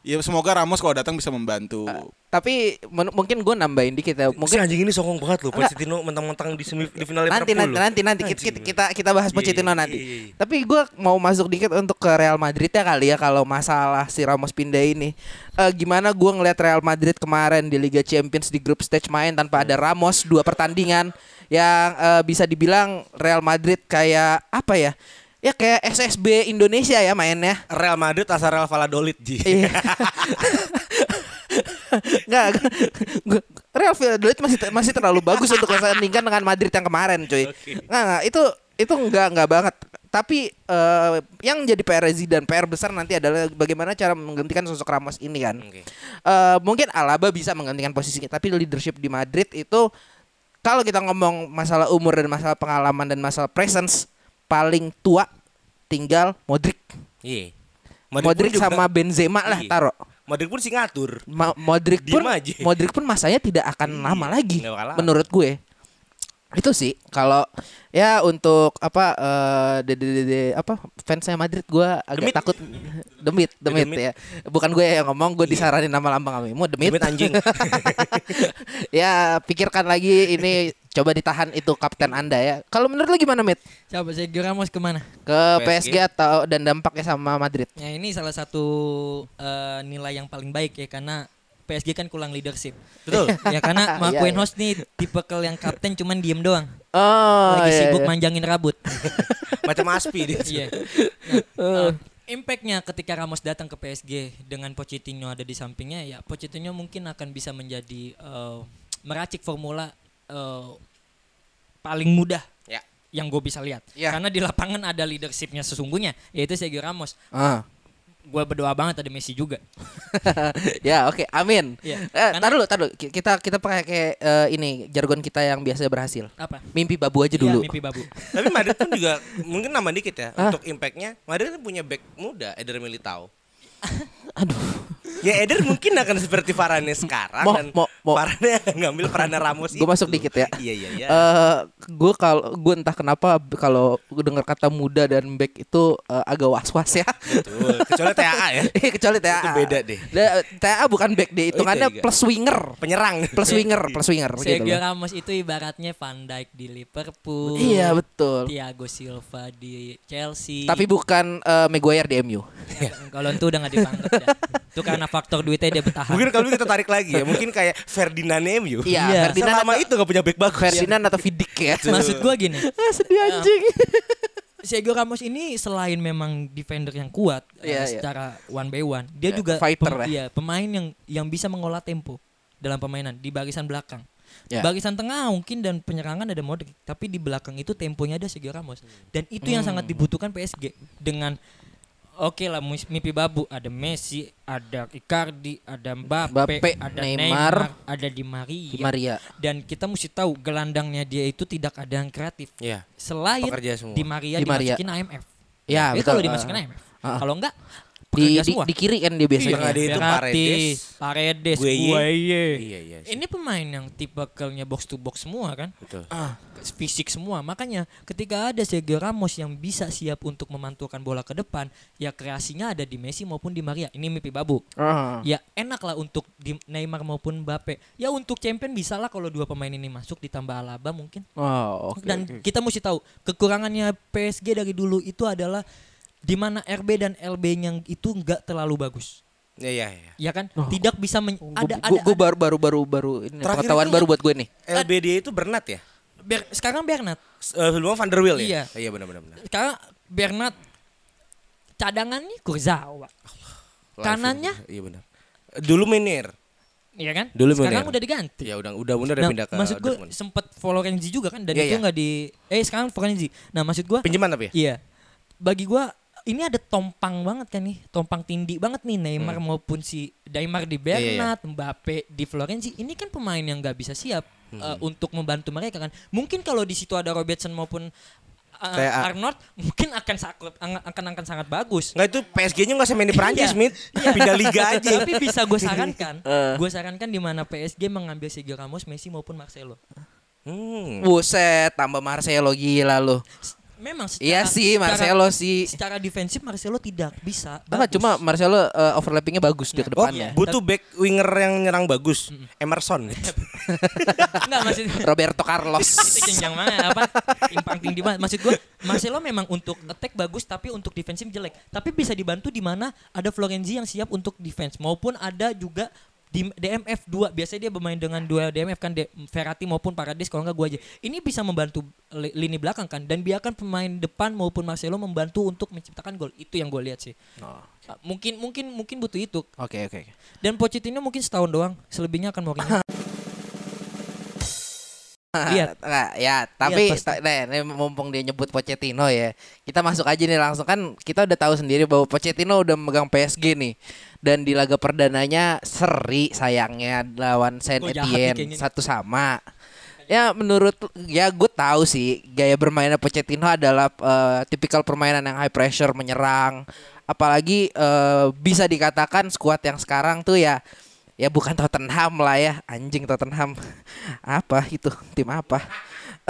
Ya semoga Ramos kalau datang bisa membantu. Ah. Tapi men- mungkin gue nambahin dikit ya, mungkin mungkin anjing ini songong banget loh Pochettino mentang-mentang di semi di final nanti nanti Liverpool nanti nanti kita kita kita, kita bahas Iya, Pochettino iya, nanti. iya, iya. Tapi gue mau masuk dikit untuk ke Real Madrid ya kali ya kalau masalah si Ramos pindah ini. Eh, gimana gue ngelihat Real Madrid kemarin di Liga Champions di grup stage main tanpa ada Ramos dua pertandingan yang eh, bisa dibilang Real Madrid kayak apa ya? Ya kayak SSB Indonesia ya mainnya. Real Madrid asal Real Valladolid Ji. Iya. Enggak, gua- Real Valladolid masih ter- masih terlalu bagus untuk disandingkan dengan Madrid yang kemarin, cuy. Enggak, enggak, itu itu enggak enggak banget. Tapi eh, yang jadi PR Zidane, PR besar nanti adalah bagaimana cara menggantikan sosok Ramos ini kan. Oke. Eh, mungkin Alaba bisa menggantikan posisinya, tapi leadership di Madrid itu kalau kita ngomong masalah umur dan masalah pengalaman dan masalah presence paling tua tinggal Modric. Iya. Modric, pun juga- sama Benzema lah Iya. taruh. Modric pun sih ngatur. Ma- Modric Diem pun aja. Iya, Modric pun masanya tidak akan lama lagi nggak bakal lama. menurut gue. Itu sih kalau ya untuk apa eh dede dede apa fansnya Madrid gue agak Demit. takut demit demit, Demit. Iya. ya. Bukan gue yang ngomong, gue disaranin nama lambang kami. Mau demit. Demit anjing. ya pikirkan lagi ini coba ditahan itu kapten Anda ya. Kalau menurut lu gimana, Mit? Coba Sergio Ramos kemana? Ke PSG? PSG, atau dan dampaknya sama Madrid? Ya ini salah satu eh, nilai yang paling baik ya karena PSG kan kurang leadership. Betul. ya karena Mark Iya, iya. Host nih tipe yang kapten cuman diem doang. Oh, Lagi iya, sibuk iya. manjangin rambut. Macam Aspi dia. Iya. Nah, eh, Oh. Impact-nya ketika Ramos datang ke PSG dengan Pochettino ada di sampingnya ya Pochettino mungkin akan bisa menjadi eh, meracik formula eh, paling mudah Iya. Ya. yang gue bisa lihat Ya. karena di lapangan ada leadershipnya sesungguhnya yaitu Sergio Ramos Ah. gue berdoa banget ada Messi juga ya oke amin Eh, Iya, karena- taruh dulu taruh dulu. Ki- kita kita pakai eh, ini jargon kita yang biasanya berhasil apa mimpi babu aja Iya, dulu mimpi babu Tapi Madrid pun juga mungkin nambah dikit ya untuk impactnya. Madrid kan punya back muda Eder Militao. aduh Ya Eder mungkin akan seperti Varane sekarang Mo- dan mo- mo. Varane akan ngambil peranan Ramos gue masuk dikit ya Iya iya iya. Eh, gue kalau gue entah kenapa b- kalau gue dengar kata muda dan back itu eh, agak was was ya Betul. Kecuali TAA ya. Eh, kecuali TA Itu beda deh. Da- TA bukan back deh hitungannya iya. plus winger Penyerang. plus winger plus winger gitu Sergio loh. Ramos itu ibaratnya Van Dijk di Liverpool iya betul Thiago Silva di Chelsea tapi bukan eh, Maguire di MU Ya, kalau itu udah nggak dipanggil itu karena faktor duitnya dia bertahan Mungkin kalau kita tarik lagi ya, mungkin kayak Ferdinand MU. Iya, Ferdinand Selama atau- itu gak punya back bagus. Ferdinand atau Vidic ya maksud gue gini Ah, sedih anjing Sergio Ramos ini selain memang defender yang kuat eh, Iya, iya. secara one by one, dia Ya, juga fighter lah. iya, pemain yang yang bisa mengolah tempo dalam permainan di barisan belakang. Ya. Barisan tengah mungkin dan penyerangan ada Modric, tapi di belakang itu temponya ada Sergio Ramos dan itu yang Hmm. sangat dibutuhkan PSG dengan Oke lah mus- mimpi babu ada Messi, ada Icardi, ada Mbappe, Mbappe, ada Neymar, Neymar, ada Di Maria. Di Maria. Dan kita mesti tahu gelandangnya dia itu tidak ada yang kreatif. Iya. Selain Pekerja semua. di Maria Di Maria. dimasukin AMF. Ya, Jadi betul. kalau dimasukin Ah. AMF. Ah. Kalau enggak di, pekerja di, semua. di kiri kan dia biasanya. Iya, ada itu Berarti, Paredes. Paredes, Gueye. Gueye. Iya, iya sih. Ini pemain yang tipikalnya box to box semua kan? Betul. Ah, fisik semua. Makanya ketika ada Sergio Ramos yang bisa siap untuk memantulkan bola ke depan, ya kreasinya ada di Messi maupun di Maria. Ini mimpi babu. Ah. Ya enak lah untuk di Neymar maupun Mbappe. Ya untuk champion bisa lah kalau dua pemain ini masuk ditambah Alaba mungkin. Oh, oke. Dan kita mesti tahu kekurangannya PSG dari dulu itu adalah di mana RB dan LB yang itu nggak terlalu bagus. Iya iya iya. Ya kan? Tidak bisa men- ada ada, Gue ada. baru baru baru baru ini Terakhir pengetahuan itu- baru buat gue nih. LBD itu Bernat ya? Ber- sekarang Bernat. S- eh, Sebelumnya Van der Wiel Iya. ya? Iya benar benar benar. Sekarang Bernat cadangannya Kurzawa. Live Kanannya? itu. Iya benar. Dulu Menir. Iya kan? Dulu sekarang Munir. udah diganti. Ya udah udah benar udah Nah, pindah ke maksud gue Dortmund. sempet Florenzi juga kan dan Iya, itu iya. nggak di eh sekarang Florenzi. Nah, maksud gue Pinjaman tapi ya? Iya. Bagi gua ini ada tompang banget kan nih, tompang tindih banget nih Neymar Hmm. maupun si Neymar di Iya, Bernat, Mbappe di Florenzi. Ini kan pemain yang nggak bisa siap Hmm. eh, untuk membantu mereka kan. Mungkin kalau di situ ada Robertson maupun eh, TA. Arnold mungkin akan saklep- ang- akan akan sangat bagus. Enggak itu PSG-nya enggak usah main di Prancis, Iya. Mit. Pindah liga aja. Tapi bisa gue sarankan, Eh. gue sarankan di mana PSG mengambil Sergio Ramos, Messi maupun Marcelo. Hmm. Buset, tambah Marcelo gila lu. S- Memang secara, Iya sih, secara- Marcelo sih. Secara defensif Marcelo tidak bisa. Enggak bagus. cuma Marcelo eh, overlappingnya bagus dia ke Oh, depannya. butuh back winger yang nyerang bagus. Emerson. Enggak maksudnya Roberto Carlos. itu jenjang banget apa impang tinggi banget maksud gue Marcelo memang untuk attack bagus tapi untuk defensif jelek tapi bisa dibantu di mana ada Florenzi yang siap untuk defense maupun ada juga di DMF 2 biasanya dia bermain dengan dua DMF kan De- Ferrati maupun Paredes kalau nggak gue aja ini bisa membantu li- lini belakang kan dan biarkan pemain depan maupun Marcelo membantu untuk menciptakan gol itu yang gue lihat sih Uh, mungkin mungkin mungkin butuh itu Oke oke. dan Pochettino mungkin setahun doang selebihnya akan Mourinho Lihat. Nggak, ya, tapi pasti. ta- nah, ini mumpung dia nyebut Pochettino ya. Kita masuk aja nih langsung kan kita udah tahu sendiri bahwa Pochettino udah memegang PSG nih. Dan di laga perdananya seri sayangnya lawan Saint Kok jahat nih Etienne kayaknya. satu sama. Ya menurut ya gue tahu sih gaya bermainnya Pochettino adalah eh, tipikal permainan yang high pressure menyerang. Apalagi eh, bisa dikatakan skuad yang sekarang tuh ya ya bukan Tottenham lah ya anjing Tottenham apa itu tim apa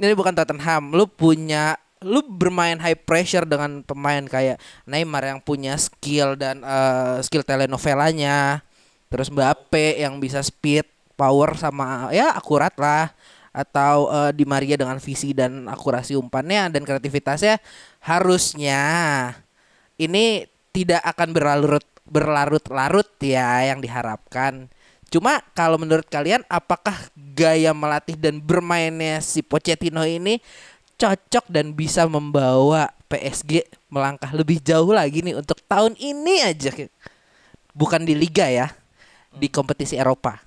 ini bukan Tottenham lu punya lu bermain high pressure dengan pemain kayak Neymar yang punya skill dan eh, skill telenovelanya terus Mbappe yang bisa speed power sama ya akurat lah atau eh, Di Maria dengan visi dan akurasi umpannya dan kreativitasnya harusnya ini tidak akan berlarut berlarut-larut ya yang diharapkan. Cuma kalau menurut kalian apakah gaya melatih dan bermainnya si Pochettino ini cocok dan bisa membawa PSG melangkah lebih jauh lagi nih untuk tahun ini aja. Bukan di liga ya, di kompetisi Eropa.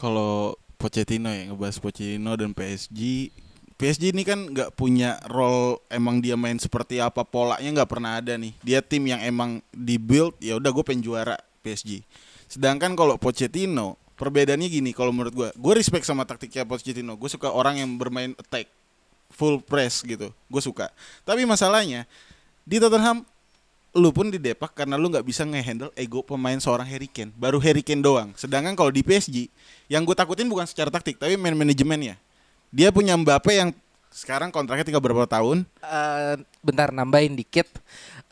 Kalau Pochettino ya ngebahas Pochettino dan PSG. PSG ini kan nggak punya role emang dia main seperti apa polanya nggak pernah ada nih. Dia tim yang emang dibuild ya udah gue pengen juara PSG. Sedangkan kalau Pochettino perbedaannya gini kalau menurut gue, gue respect sama taktiknya Pochettino. Gue suka orang yang bermain attack full press gitu, gue suka. Tapi masalahnya di Tottenham lu pun di depak karena lu nggak bisa ngehandle ego pemain seorang Harry Kane. Baru Harry Kane doang. Sedangkan kalau di PSG, yang gue takutin bukan secara taktik, tapi main manajemennya. Dia punya Mbappe yang sekarang kontraknya tinggal berapa tahun. Eh, bentar nambahin dikit.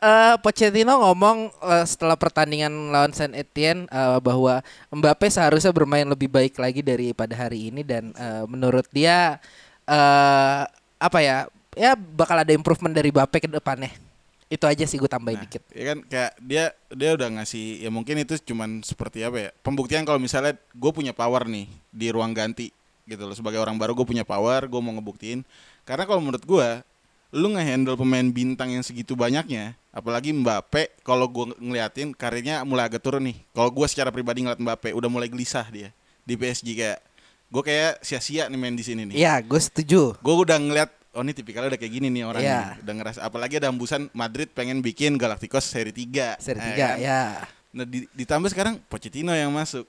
Eh, Pochettino ngomong eh, setelah pertandingan lawan Saint Etienne eh, bahwa Mbappe seharusnya bermain lebih baik lagi daripada hari ini dan eh, menurut dia eh apa ya ya bakal ada improvement dari Mbappe ke depannya. Itu aja sih gue tambahin Nah, dikit. ya kan kayak dia dia udah ngasih ya mungkin itu cuman seperti apa ya pembuktian kalau misalnya gue punya power nih di ruang ganti gitu loh sebagai orang baru gue punya power gue mau ngebuktiin karena kalau menurut gue lu ngehandle pemain bintang yang segitu banyaknya apalagi Mbappe kalau gue ngeliatin karirnya mulai agak turun nih kalau gue secara pribadi ngeliat Mbappe udah mulai gelisah dia di PSG kayak gue kayak sia-sia nih main di sini nih Iya, gue setuju. gue udah ngeliat oh ini tipikalnya udah kayak gini nih Iya. orangnya udah ngerasa apalagi ada hembusan Madrid pengen bikin Galacticos seri 3 Seri Eh, tiga kan? ya. nah di- ditambah sekarang Pochettino yang masuk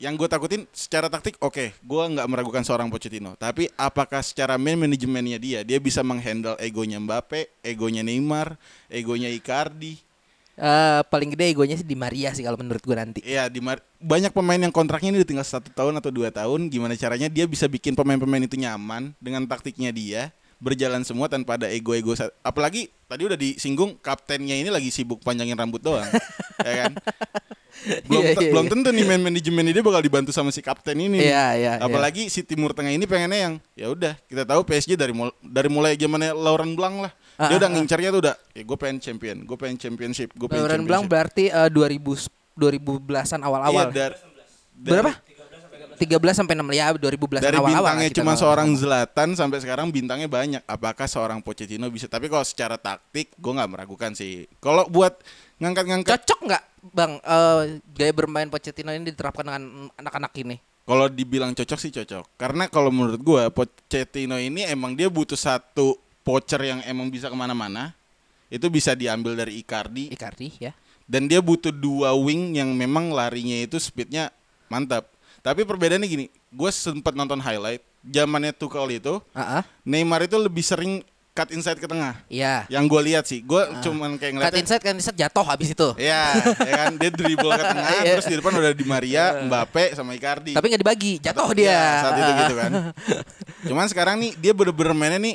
yang gue takutin secara taktik oke gue nggak meragukan seorang Pochettino tapi apakah secara man manajemennya dia dia bisa menghandle egonya Mbappe egonya Neymar egonya Icardi Eh, paling gede egonya sih di Maria sih kalau menurut gue nanti. Iya, di Mar- banyak pemain yang kontraknya ini udah tinggal satu tahun atau dua tahun. Gimana caranya dia bisa bikin pemain-pemain itu nyaman dengan taktiknya dia berjalan semua tanpa ada ego-ego. sa- Apalagi tadi udah disinggung kaptennya ini lagi sibuk panjangin rambut doang, ya kan? Belum, Iya, te- iya, belum iya. tentu nih man manajemen dia bakal dibantu sama si kapten ini. Iya, iya, iya. Apalagi si Timur Tengah ini pengennya yang ya udah kita tahu PSG dari mul- dari mulai zamannya Laurent Blanc lah. Ah, Dia ah, udah ngincarnya tuh udah, ya gue pengen champion, gue pengen championship, gue pengen Lauren Blanc championship." berarti eh, 2000 2010-an awal-awal. Iya, dar- dari- Berapa? 13 sampai 6 ya 2010 dari awal-awal gitu bintangnya kita cuma ngomong. seorang Zlatan sampai sekarang bintangnya banyak. Apakah seorang Pochettino bisa? Tapi kalau secara taktik, gue nggak meragukan sih. Kalau buat ngangkat-ngangkat, cocok nggak bang eh, gaya bermain Pochettino ini diterapkan dengan anak-anak ini kalau dibilang cocok sih cocok. Karena kalau menurut gue, Pochettino ini emang dia butuh satu poacher yang emang bisa kemana-mana. Itu bisa diambil dari Icardi Icardi ya dan dia butuh dua wing yang memang larinya itu speednya mantap. Tapi perbedaannya gini, gue sempat nonton highlight zamannya Tuchel itu, Heeh. Neymar itu lebih sering cut inside ke tengah. iya yang gue lihat sih gue cuman kayak kan ngeliatin inside kan inside jatuh habis itu Iya, ya kan dia dribble ke tengah Iya. terus di depan udah di Maria, Mbappe sama Icardi. tapi nggak dibagi jatuh Iya, dia saat itu gitu kan. Cuman sekarang nih dia bener-bener mainnya nih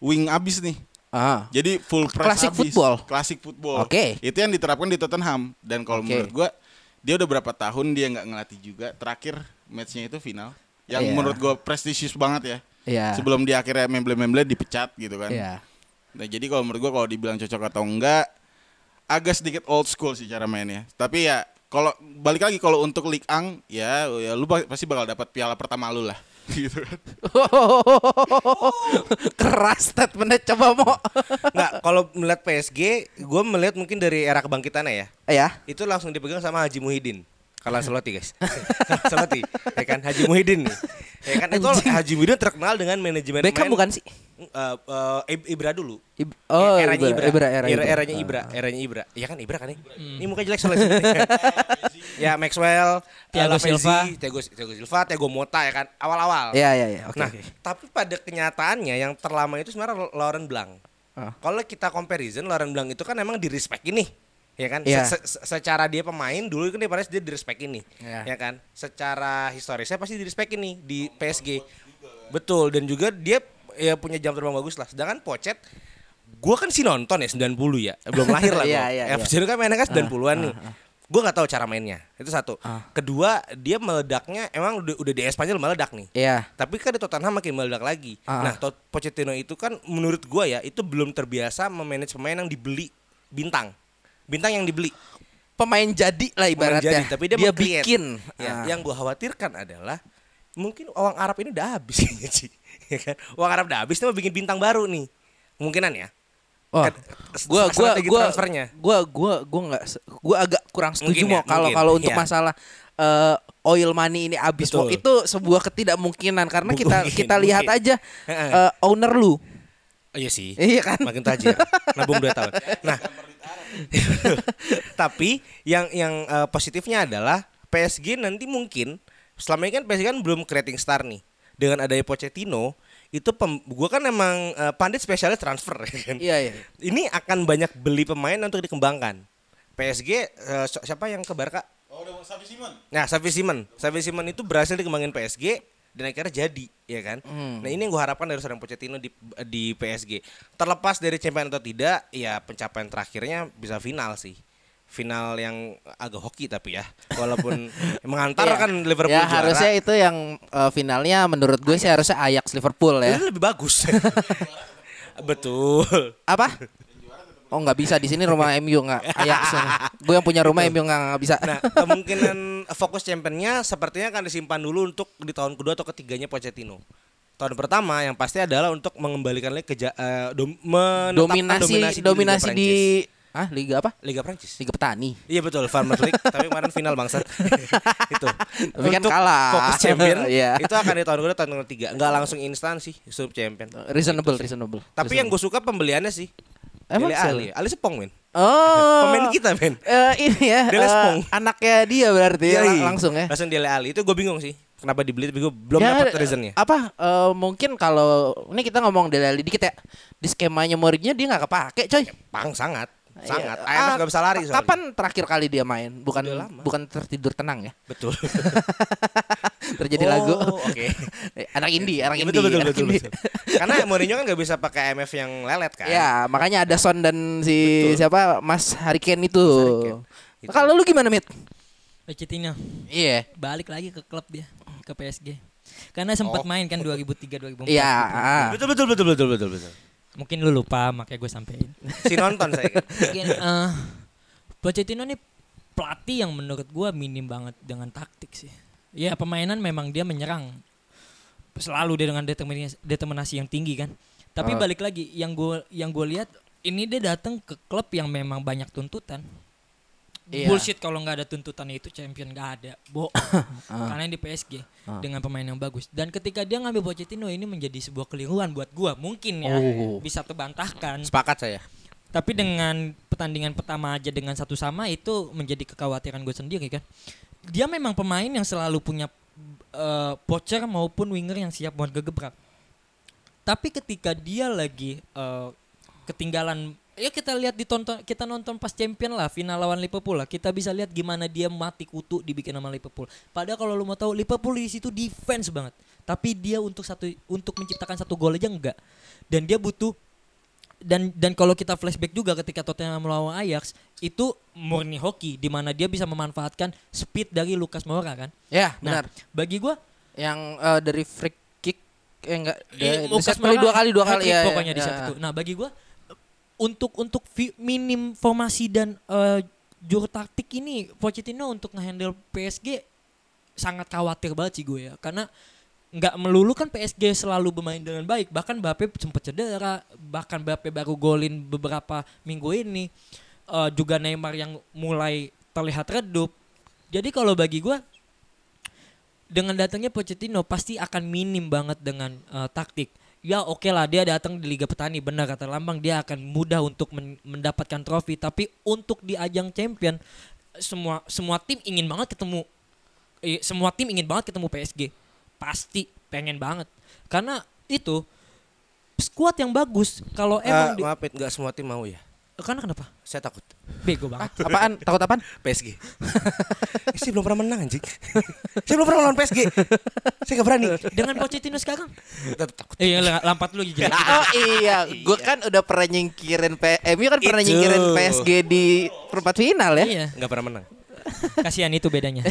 wing abis nih. Ah. Jadi full press Klasik abis. football. Klasik football. Oke. Itu yang diterapkan di Tottenham dan kalau Oke. menurut gue dia udah berapa tahun dia nggak ngelatih juga. Terakhir matchnya itu final yang Iya. menurut gue prestisius banget ya. Iya. Sebelum dia akhirnya memble-memble dipecat gitu kan. iya Nah, jadi kalau menurut gua kalau dibilang cocok atau enggak agak sedikit old school sih cara mainnya. Tapi ya kalau balik lagi kalau untuk League Ang ya, ya lu ba- pasti bakal dapat piala pertama lu lah. Gitu kan. keras statementnya coba mau Nggak, kalau melihat PSG, gue melihat mungkin dari era kebangkitannya ya. ya Itu langsung dipegang sama Haji Muhyiddin. Kalau Ancelotti guys. Ancelotti, ya kan Haji Muhyiddin nih. Ya kan itu Haji Muhyiddin terkenal dengan manajemen Beckham pemain- bukan sih? Eh, eh, Ib- Ibra dulu. Ib- oh, Eh, eranya Ibra, Ibra, era Ibra. Ah. Hmm. eranya Ibra, eranya Ibra. Ya kan Ibra kan ya? Ini mukanya jelek soalnya. ya Maxwell, eh, Thiago Lavezzi, Silva. Thiago, Thiago Silva, Thiago Mota ya kan awal-awal. Iya, iya, iya. Oke. Nah, oke. tapi pada kenyataannya yang terlama itu sebenarnya Lauren Blanc. Ah. Kalau kita comparison Lauren Blanc itu kan emang di respect ini. Ya kan? Iya. Se- se- secara dia pemain dulu kan dia pada dia di respect ini. Iya. Ya kan? Secara historisnya pasti di respect ini di PSG. Betul dan juga dia ya punya jam terbang bagus lah. Sedangkan Pochet gua kan sih nonton ya 90 ya. Belum lahir lah Iya, gua. iya, ah, Eh, iya. Zidane kan mainnya kan 90-an nih. Gue nggak tahu cara mainnya. Itu satu. Ah. Kedua, dia meledaknya emang udah, udah di Espanyol meledak nih. Iya. Tapi kan di Tottenham makin meledak lagi. Ah. Nah, Tot- Pochettino itu kan menurut gua ya itu belum terbiasa memanage pemain yang dibeli bintang. Bintang yang dibeli. Pemain jadi lah Pemain ibaratnya. jadi, tapi dia, meng-create. bikin. Ah. Ya, Yang gua khawatirkan adalah mungkin uang Arab ini udah habis kayaknya, Ci. Ya kan? Uang Arab udah habis, dia mau bikin bintang baru nih. Kemungkinan ya. Wah, Kan, gua gua strategi gua transfernya. gua gua gua nggak se- gua agak kurang setuju Mungkin ya, mau kalau mungkin, kalau untuk iya. masalah eh, oil money ini habis Betul. mau itu sebuah ketidakmungkinan karena Mungkin, kita kita lihat mungkin. aja Heeh. eh, owner lu Oh, iya sih. Iya kan? Makin tajir. Nabung 2 tahun. Nah. Tapi yang yang eh, positifnya adalah PSG nanti mungkin selama ini kan PSG kan belum creating star nih. Dengan adanya Pochettino itu pem, gua kan emang eh, pandit spesialis transfer ya kan. Iya, iya. Ini akan banyak beli pemain untuk dikembangkan. PSG eh, so- siapa yang ke Barca? Oh, udah Safi Simon. Nah, Xavi Simon. Xavi Simon itu berhasil dikembangin PSG dan akhirnya jadi, ya kan? Hmm. Nah, ini yang gue harapkan dari seorang Pochettino di di PSG. Terlepas dari champion atau tidak, ya pencapaian terakhirnya bisa final sih. Final yang agak hoki tapi ya, walaupun Iya. mengantarkan kan Liverpool ya juara. harusnya itu yang eh, finalnya menurut gue sih harusnya Ajax Liverpool ya Ini lebih bagus. Betul. apa oh nggak bisa di sini rumah MU nggak Ajax gue yang punya rumah MU nggak nggak bisa Nah, kemungkinan fokus championnya sepertinya akan disimpan dulu untuk di tahun kedua atau ketiganya Pochettino. Tahun pertama yang pasti adalah untuk mengembalikan lagi ke ja- eh, dom- menetapkan dominasi dominasi, di Liga Prancis. di ah liga apa Liga Prancis. liga petani Iya betul, Farmer League, tapi kemarin final bangsat. itu. Tapi kan kalah. Fokus champion. Iya. Itu akan di tahun kedua tahun ketiga. Enggak langsung instan sih sub champion. Iya. reasonable reasonable Tapi yang gue suka pembeliannya sih. Iya. Emang Dele siapa? Ali, Ali Sepong men. Oh. Pemain kita, men. Eh, ini ya. Dele eh, Spong. Iya, anaknya dia berarti ya, Yoi. langsung ya. Langsung Dele Ali. Itu gue bingung sih. Kenapa dibeli tapi gue belum Ya, dapat reasonnya. Apa eh, mungkin kalau ini kita ngomong Dele Alli dikit ya. Di skemanya Mourinho dia nggak kepake, coy. Pang sangat, sangat. Iya. IMF Ah, gak bisa lari soalnya. Kapan terakhir kali dia main? Bukan Udah lama. bukan tertidur tenang ya. Betul. Terjadi lagu. Oh, oke. anak indie, anak indie. Iya, betul, betul, anak betul, indie. betul. Karena Mourinho kan gak bisa pakai IMF yang lelet kan. Ya, makanya ada Son dan si siapa Mas Hariken itu. Itu. Kalau lu gimana, Mit? Pochettino Iya. balik lagi ke klub dia, ke PSG. Karena sempat main kan 2003 2004. Oh, Iya. ah. Betul betul betul betul betul betul. gitu. Mungkin lu lupa makanya gue sampein. Si nonton saya. kan. Mungkin eh, Pochettino nih pelatih yang menurut gue minim banget dengan taktik sih. Ya pemainan memang dia menyerang selalu dia dengan determinasi, determinasi yang tinggi kan. Ah. Tapi balik lagi yang gue yang gue lihat ini dia datang ke klub yang memang banyak tuntutan. Iya. Bullshit kalau nggak ada tuntutan itu champion nggak ada. Bo. Ah. Karena yang di PSG dengan pemain yang bagus. Dan ketika dia ngambil Pochettino ini menjadi sebuah keliruan buat gua mungkin ya Oh. bisa terbantahkan. Sepakat saya. Tapi dengan pertandingan pertama aja dengan satu sama itu menjadi kekhawatiran gue sendiri kan. Dia memang pemain yang selalu punya eh, pocher maupun winger yang siap buat gegebrak. Tapi ketika dia lagi eh, ketinggalan ya kita lihat ditonton kita nonton pas champion lah final lawan Liverpool lah kita bisa lihat gimana dia mati kutu dibikin sama Liverpool. Padahal kalau lu mau tahu Liverpool di situ defense banget. Tapi dia untuk satu untuk menciptakan satu gol aja enggak. Dan dia butuh dan dan kalau kita flashback juga ketika Tottenham melawan Ajax itu murni hoki di mana dia bisa memanfaatkan speed dari Lucas Moura kan. Ya, Nah, benar. bagi gua yang eh, dari free kick eh enggak eh, dari Lucas set play Moura dua kali dua kali hat-trick ya, ya, pokoknya di ya, saat ya. itu. Nah, bagi gua untuk untuk vi- minim formasi dan eh, juru taktik ini Pochettino untuk ngehandle PSG sangat khawatir banget sih gue ya karena nggak melulu kan PSG selalu bermain dengan baik bahkan Mbappe sempat cedera bahkan Mbappe baru golin beberapa minggu ini Eh, juga Neymar yang mulai terlihat redup Jadi kalau bagi gua dengan datangnya Pochettino pasti akan minim banget dengan eh, taktik. Ya oke lah dia datang di Liga Petani benar kata Lambang dia akan mudah untuk men- mendapatkan trofi tapi untuk di ajang champion semua semua tim ingin banget ketemu eh, semua tim ingin banget ketemu PSG. Pasti pengen banget. Karena itu skuad yang bagus kalau Eh, emang di- maaf, Pit, nggak semua tim mau ya. karena kenapa? Saya takut. Bego banget. Apaan? Takut apaan? PSG. Eh, saya belum pernah menang anjing. saya belum pernah lawan PSG. saya gak berani. Dengan Pochettino sekarang? Tetap takut. Eh, la- lampat lu gila. Oh iya, gue kan udah pernah nyingkirin P MU kan pernah Itu. nyingkirin PSG di perempat final ya. Iya, Gak pernah menang. kasihan itu bedanya.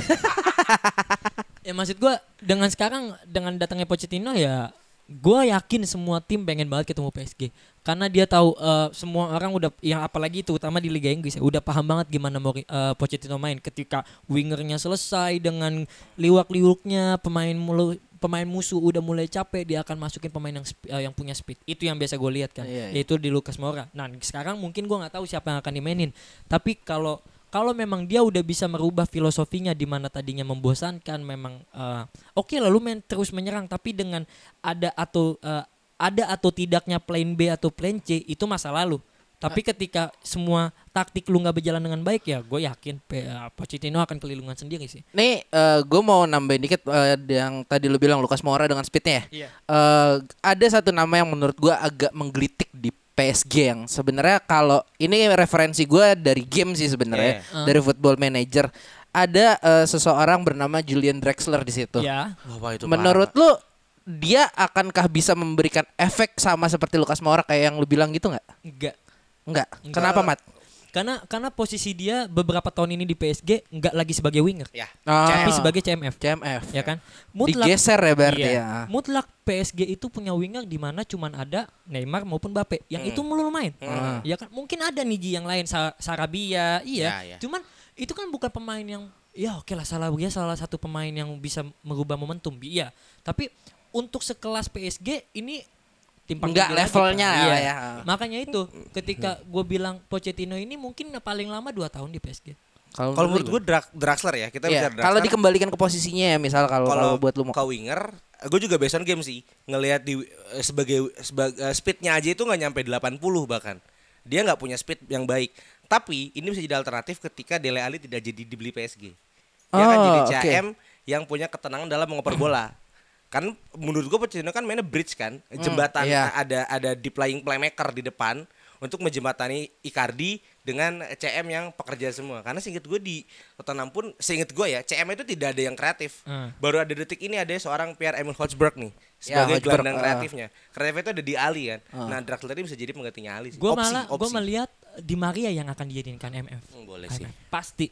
ya maksud gua dengan sekarang dengan datangnya Pochettino ya gua yakin semua tim pengen banget ketemu PSG karena dia tahu eh, semua orang udah yang apalagi itu utama di Liga Inggris ya udah paham banget gimana mau Pochettino main ketika wingernya selesai dengan liwak-liwuknya pemain mulu pemain musuh udah mulai capek dia akan masukin pemain yang sp- eh, yang punya speed itu yang biasa gue lihat kan Iya, iya. yaitu di Lucas Moura nah sekarang mungkin gua nggak tahu siapa yang akan dimainin tapi kalau kalau memang dia udah bisa merubah filosofinya di mana tadinya membosankan memang eh, oke lalu main terus menyerang tapi dengan ada atau eh, ada atau tidaknya plan B atau plan C itu masa lalu tapi ketika semua taktik lu nggak berjalan dengan baik ya gue yakin P- eh, Pochettino akan kelilungan sendiri sih Nih, gue mau nambahin dikit eh, yang tadi lu bilang Lukas Moura dengan speednya ya. Iya. Eh, ada satu nama yang menurut gue agak menggelitik di PSG yang sebenarnya kalau ini referensi gue dari game sih sebenarnya Iya. dari Football Manager ada eh, seseorang bernama Julian Drexler di situ. ya Wah, wah, itu Menurut parah. lu dia akankah bisa memberikan efek sama seperti Lukas Moura kayak yang lu bilang gitu nggak? enggak Nggak. Nggak. Kenapa Mat? karena karena posisi dia beberapa tahun ini di PSG nggak lagi sebagai winger ya. tapi Ah, sebagai CMF CMF. ya kan Digeser ya berarti Iya. ya. Mutlak PSG itu punya winger di mana cuman ada Neymar maupun Mbappe. Yang Hmm. itu melulu main. Ya kan mungkin ada nih Ji, yang lain Sa- Sarabia, iya. Ya, ya. Cuman itu kan bukan pemain yang ya oke lah Sarabia salah satu pemain yang bisa merubah momentum. Iya. Tapi untuk sekelas PSG ini timpang Nggak tindih lagi, levelnya Pak. lah Iya. ya. Hmm. Makanya itu ketika gue bilang Pochettino ini mungkin paling lama 2 tahun di PSG. Kalau menurut gue Draxler ya. Kita Iya, bicara kalau Draxler. dikembalikan ke posisinya ya misal kalau kalau buat lu mau ke winger gue juga based on game sih ngelihat di eh, sebagai sebagai eh, speednya aja itu nggak nyampe 80 bahkan dia nggak punya speed yang baik tapi ini bisa jadi alternatif ketika Dele Alli tidak jadi dibeli PSG dia akan Oh, jadi oke. CM yang punya ketenangan dalam mengoper bola kan menurut gue Pochettino kan mainnya bridge kan jembatan iya. ada ada deep lying playmaker di depan untuk menjembatani Icardi dengan CM yang pekerja semua. Karena seinget gue di Tottenham pun seinget gue ya CM itu tidak ada yang kreatif. Hmm. Baru ada detik ini ada seorang Pierre Emil Hochberg nih Ya, sebagai Hojbjerg, gelandang ah. kreatifnya. Kreatifnya itu ada di Ali kan. Nah Draxler ini bisa jadi penggantinya Ali. sih. Gue Opsi, malah gue opsi. melihat eh, Di Maria yang akan dijadikan MF. Hmm, boleh sih. Pasti.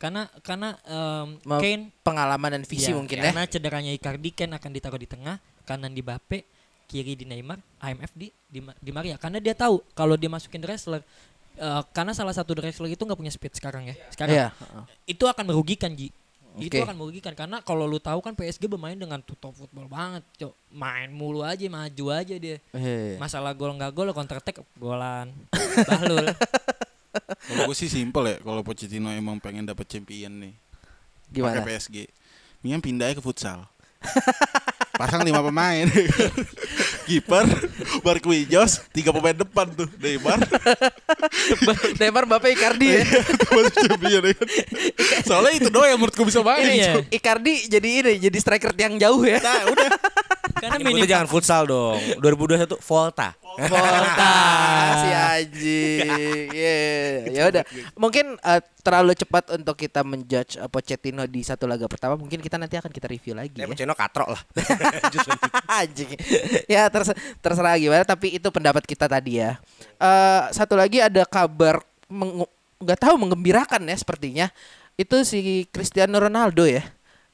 Karena karena em, Ma- Kane Iya, pengalaman dan visi mungkin ya. Karena cederanya Icardi Kane akan ditaruh di tengah, kanan di Bape, kiri di Neymar, IMF di di, Ma- di Maria. Karena dia tahu kalau dia masukin wrestler eh, karena salah satu wrestler itu nggak punya speed sekarang ya. Sekarang Iya, heeh. itu akan merugikan Ji. Itu Oke. akan merugikan karena kalau lu tahu kan PSG bermain dengan tutup football banget, Cok. Main mulu aja, maju aja dia. Iya, iya. Masalah gol nggak gol counter attack golan. Bahlul. Kalau gue sih simpel ya kalau Pochettino emang pengen dapat champion nih. Gimana? Pakai PSG. Mendingan pindahnya ke futsal. Pasang lima pemain. Kiper, Barquinhos, tiga pemain depan tuh, Neymar. Neymar Bapak Icardi ya. Itu masuk champion ya kan. Soalnya itu doang yang menurut gue bisa main. Ini ya. Icardi jadi ini jadi striker yang jauh ya. Nah, udah. Karena Yang penting minim jangan futsal dong. 2021 Volta. Iya. Volta si Aji. Yeah. Ya udah. Mungkin eh, terlalu cepat untuk kita menjudge eh, Pochettino di satu laga pertama. Mungkin kita nanti akan kita review lagi ya. Ya Pochettino katrok lah. Anjing. ya terse- terserah gimana tapi itu pendapat kita tadi ya. Eh satu lagi ada kabar mengu- nggak tahu menggembirakan ya sepertinya. Itu si Cristiano Ronaldo ya.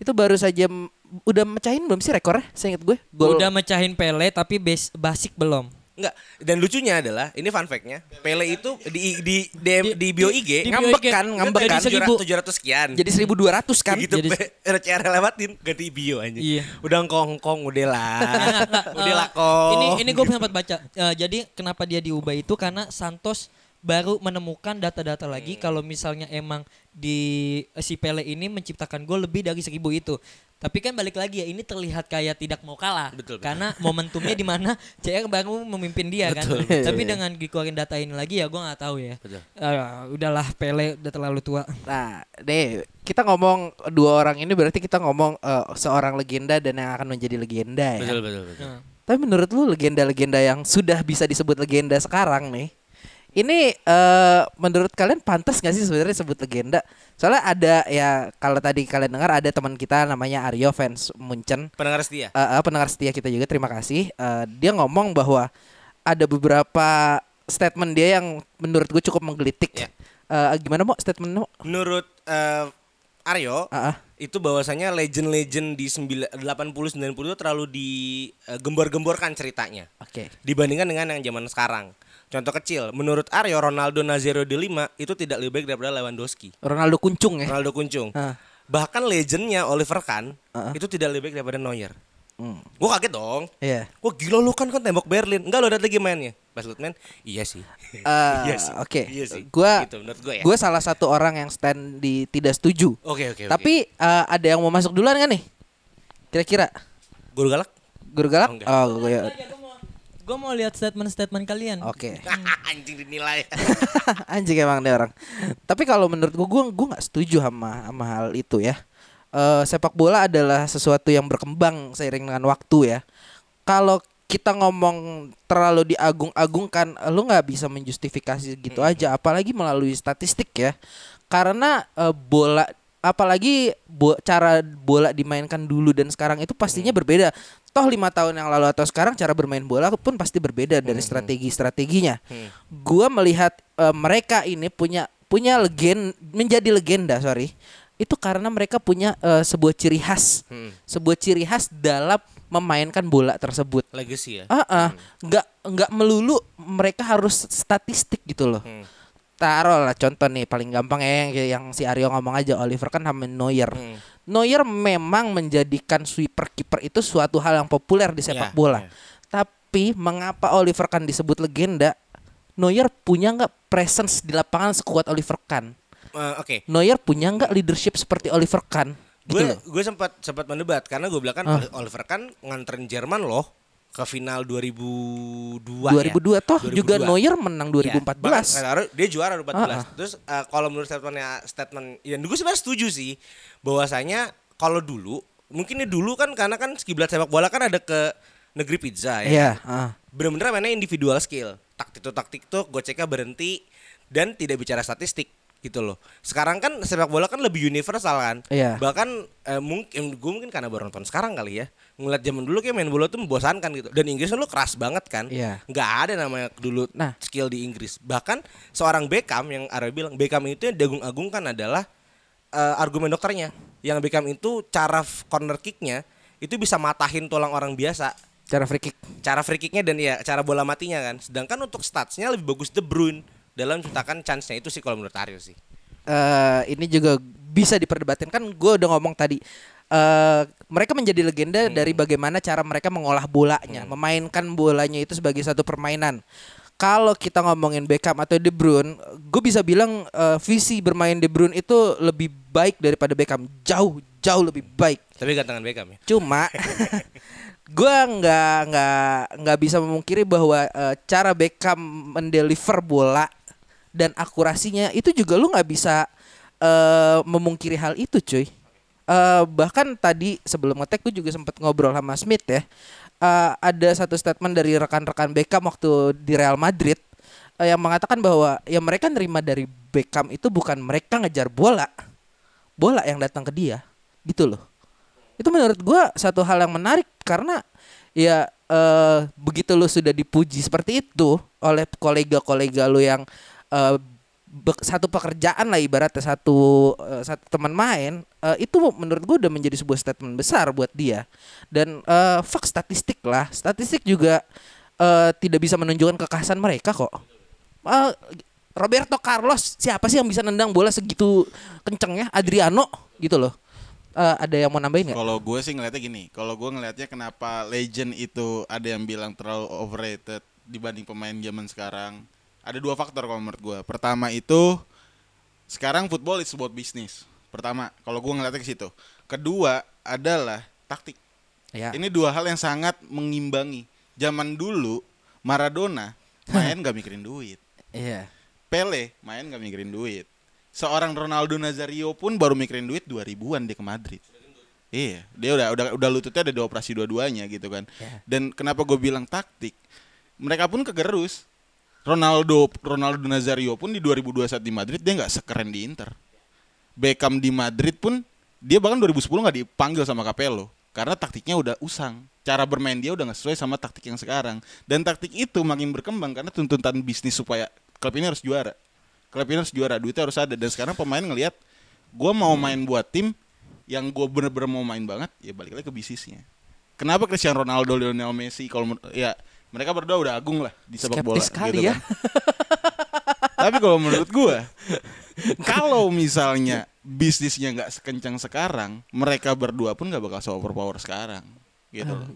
Itu baru saja m- udah mecahin belum sih rekornya? Seingat gue. Gol- udah mecahin Pele tapi bas- basic belum. Enggak. Dan lucunya adalah ini fun fact-nya. Pele itu di di di, di bio IG di- ngambek Jadi kan, ngambek jadi kan. seribu. 700 sekian. Jadi 1200 kan. Begitu Jadi- pe- RCR lewatin ganti bio aja. Iya. Udah kongkong udah lah. Nah, udah lah eh, kong. Ini ini gue sempat baca. Eh, jadi kenapa dia diubah itu karena Santos baru menemukan data-data lagi Hmm. kalau misalnya emang di eh, si Pele ini menciptakan gol lebih dari seribu itu. Tapi kan balik lagi ya ini terlihat kayak tidak mau kalah Betul, betul. karena momentumnya di mana CR baru memimpin dia Betul, kan. betul. Tapi dengan dikeluarin data ini lagi ya gue nggak tahu ya. Betul. Ah, udahlah Pele udah terlalu tua. Nah, deh kita ngomong dua orang ini berarti kita ngomong eh, seorang legenda dan yang akan menjadi legenda ya. Betul betul betul. Nah, Tapi menurut lu legenda-legenda yang sudah bisa disebut legenda sekarang nih, ini eh, menurut kalian pantas gak sih sebenarnya disebut legenda? Soalnya ada ya kalau tadi kalian dengar ada teman kita namanya Aryo fans Munchen, Pendengar setia. Eh, eh, pendengar setia kita juga terima kasih. Eh, dia ngomong bahwa ada beberapa statement dia yang menurut gue cukup menggelitik. Iya. Eh, gimana mau statement mau? Menurut eh, Aryo, Ah, ah. itu bahwasanya legend-legend di 80 90 itu terlalu digembor-gemborkan ceritanya. Oke. dibandingkan dengan yang zaman sekarang. Contoh kecil, menurut Aryo Ronaldo Nazario de Lima itu tidak lebih baik daripada Lewandowski, Ronaldo kuncung ya. Ronaldo Kuncung. Ah. Bahkan legendnya Oliver Kahn Ah. itu tidak lebih baik daripada Neuer. Hmm. Gue kaget dong. Iya. Wah gila lu kan kan tembok Berlin. Enggak lo lihat lagi mainnya. Pas lu main, iya sih. Ah, Iya sih. Oke. Iya sih. Gua Gitu, menurut gua ya. Oh, gua salah satu orang yang stand di tidak setuju. Oke oke. Tapi eh, ada yang mau masuk duluan kan nih? Kira-kira guru galak. guru galak? Oh, enggak. Oh, gua- ya. gue mau lihat statement-statement kalian. Oke. Anjing dinilai. Anjing emang nih orang. Tapi kalau menurut gua gua gua nggak setuju sama sama hal itu ya. Eh, sepak bola adalah sesuatu yang berkembang seiring dengan waktu ya. Kalau kita ngomong terlalu diagung-agungkan, eh, lu nggak bisa menjustifikasi gitu aja, apalagi melalui statistik ya. Karena eh, bola, apalagi bo- cara bola dimainkan dulu dan sekarang itu pastinya berbeda. Toh lima tahun yang lalu atau sekarang cara bermain bola pun pasti berbeda dari strategi-strateginya. Gua melihat eh, mereka ini punya punya legend menjadi legenda sorry itu karena mereka punya eh, sebuah ciri khas sebuah ciri khas dalam memainkan bola tersebut Legacy ya. ah ah. nggak nggak melulu mereka harus statistik gitu loh Hmm. taruh lah contoh nih paling gampang ya yang, yang si Aryo ngomong aja Oliver kan sama Neuer Hmm. Neuer memang menjadikan sweeper kiper itu suatu hal yang populer di sepak Ya, bola ya. tapi mengapa Oliver Kahn disebut legenda Neuer punya nggak presence di lapangan sekuat Oliver Kahn Eh, oke. Neuer punya nggak leadership seperti Oliver Kahn gitu gue loh. gue sempat sempat mendebat karena gue bilang Ah. kan Oli- Oliver kan nganterin Jerman loh ke final 2002 2002 ya. toh juga 2002. Neuer menang Iya, 2014 bahkan kata Aro, dia juara 2014 Ah, ah. terus eh, kalau menurut statementnya statement ya gue sebenarnya setuju sih bahwasanya kalau dulu mungkin ya dulu kan karena kan kiblat sepak bola kan ada ke negeri pizza ya Iya, ah. bener-bener mainnya individual skill taktik tuh taktik tuh goceknya berhenti dan tidak bicara statistik gitu loh sekarang kan sepak bola kan lebih universal kan Iya. bahkan eh, mungkin gue mungkin karena baru nonton sekarang kali ya ngeliat zaman dulu kayak main bola tuh membosankan gitu dan Inggris lu keras banget kan Iya. nggak ada namanya dulu Nah. skill di Inggris bahkan seorang Beckham yang Arya bilang Beckham itu yang diagung-agungkan adalah eh, argumen dokternya yang Beckham itu cara f- corner kicknya itu bisa matahin tulang orang biasa cara free kick cara free kicknya dan ya cara bola matinya kan. Sedangkan untuk statsnya lebih bagus De Bruyne dalam menciptakan chance-nya itu sih kalau menurut Aryo sih. eh ini juga bisa diperdebatkan kan gue udah ngomong tadi eh mereka menjadi legenda dari bagaimana cara mereka mengolah bolanya memainkan bolanya itu sebagai satu permainan kalau kita ngomongin Beckham atau De Bruyne gue bisa bilang eh, visi bermain De Bruyne itu lebih baik daripada Beckham jauh jauh lebih baik Tapi gantengan Beckham ya. Cuma gua nggak nggak nggak bisa memungkiri bahwa eh, cara Beckham mendeliver bola dan akurasinya itu juga lu nggak bisa eh, memungkiri hal itu, cuy. Eh, bahkan tadi sebelum ngetek gue juga sempat ngobrol sama Smith ya. Eh, ada satu statement dari rekan-rekan Beckham waktu di Real Madrid eh, yang mengatakan bahwa ya mereka nerima dari Beckham itu bukan mereka ngejar bola, bola yang datang ke dia, gitu loh itu menurut gua satu hal yang menarik karena ya eh, begitu lu sudah dipuji seperti itu oleh kolega-kolega lu yang eh, be- satu pekerjaan lah ibaratnya satu eh, satu teman main eh, itu menurut gua udah menjadi sebuah statement besar buat dia dan eh fuck statistik lah statistik juga eh, tidak bisa menunjukkan kekhasan mereka kok Eh, Roberto Carlos siapa sih yang bisa nendang bola segitu kencengnya Adriano gitu loh Eh, ada yang mau nambahin nggak? Kalau gue sih ngeliatnya gini, kalau gue ngeliatnya kenapa legend itu ada yang bilang terlalu overrated dibanding pemain zaman sekarang, ada dua faktor kalau menurut gue. Pertama itu sekarang football is about business. Pertama, kalau gue ngeliatnya ke situ. Kedua adalah taktik. Ya. Ini dua hal yang sangat mengimbangi. Zaman dulu Maradona main gak mikirin duit. Iya. Pele main gak mikirin duit. Seorang Ronaldo Nazario pun baru mikirin duit 2000-an dia ke Madrid. Iya, dia udah udah udah lututnya ada dua operasi dua-duanya gitu kan. Dan kenapa gue bilang taktik? Mereka pun kegerus. Ronaldo Ronaldo Nazario pun di 2021 di Madrid dia nggak sekeren di Inter. Beckham di Madrid pun dia bahkan 2010 nggak dipanggil sama Capello karena taktiknya udah usang. Cara bermain dia udah nggak sesuai sama taktik yang sekarang. Dan taktik itu makin berkembang karena tuntutan bisnis supaya klub ini harus juara. Klub ini harus juara, duitnya harus ada. Dan sekarang pemain ngelihat gue mau Hmm. main buat tim yang gue bener-bener mau main banget, ya balik lagi ke bisnisnya. Kenapa Cristiano Ronaldo, Lionel Messi, kalau menur- ya mereka berdua udah agung lah di sepak bola. Skeptis sekali gitu ya. kan. Tapi kalau menurut gua kalau misalnya bisnisnya nggak sekencang sekarang, mereka berdua pun nggak bakal se-overpower sekarang, gitu loh.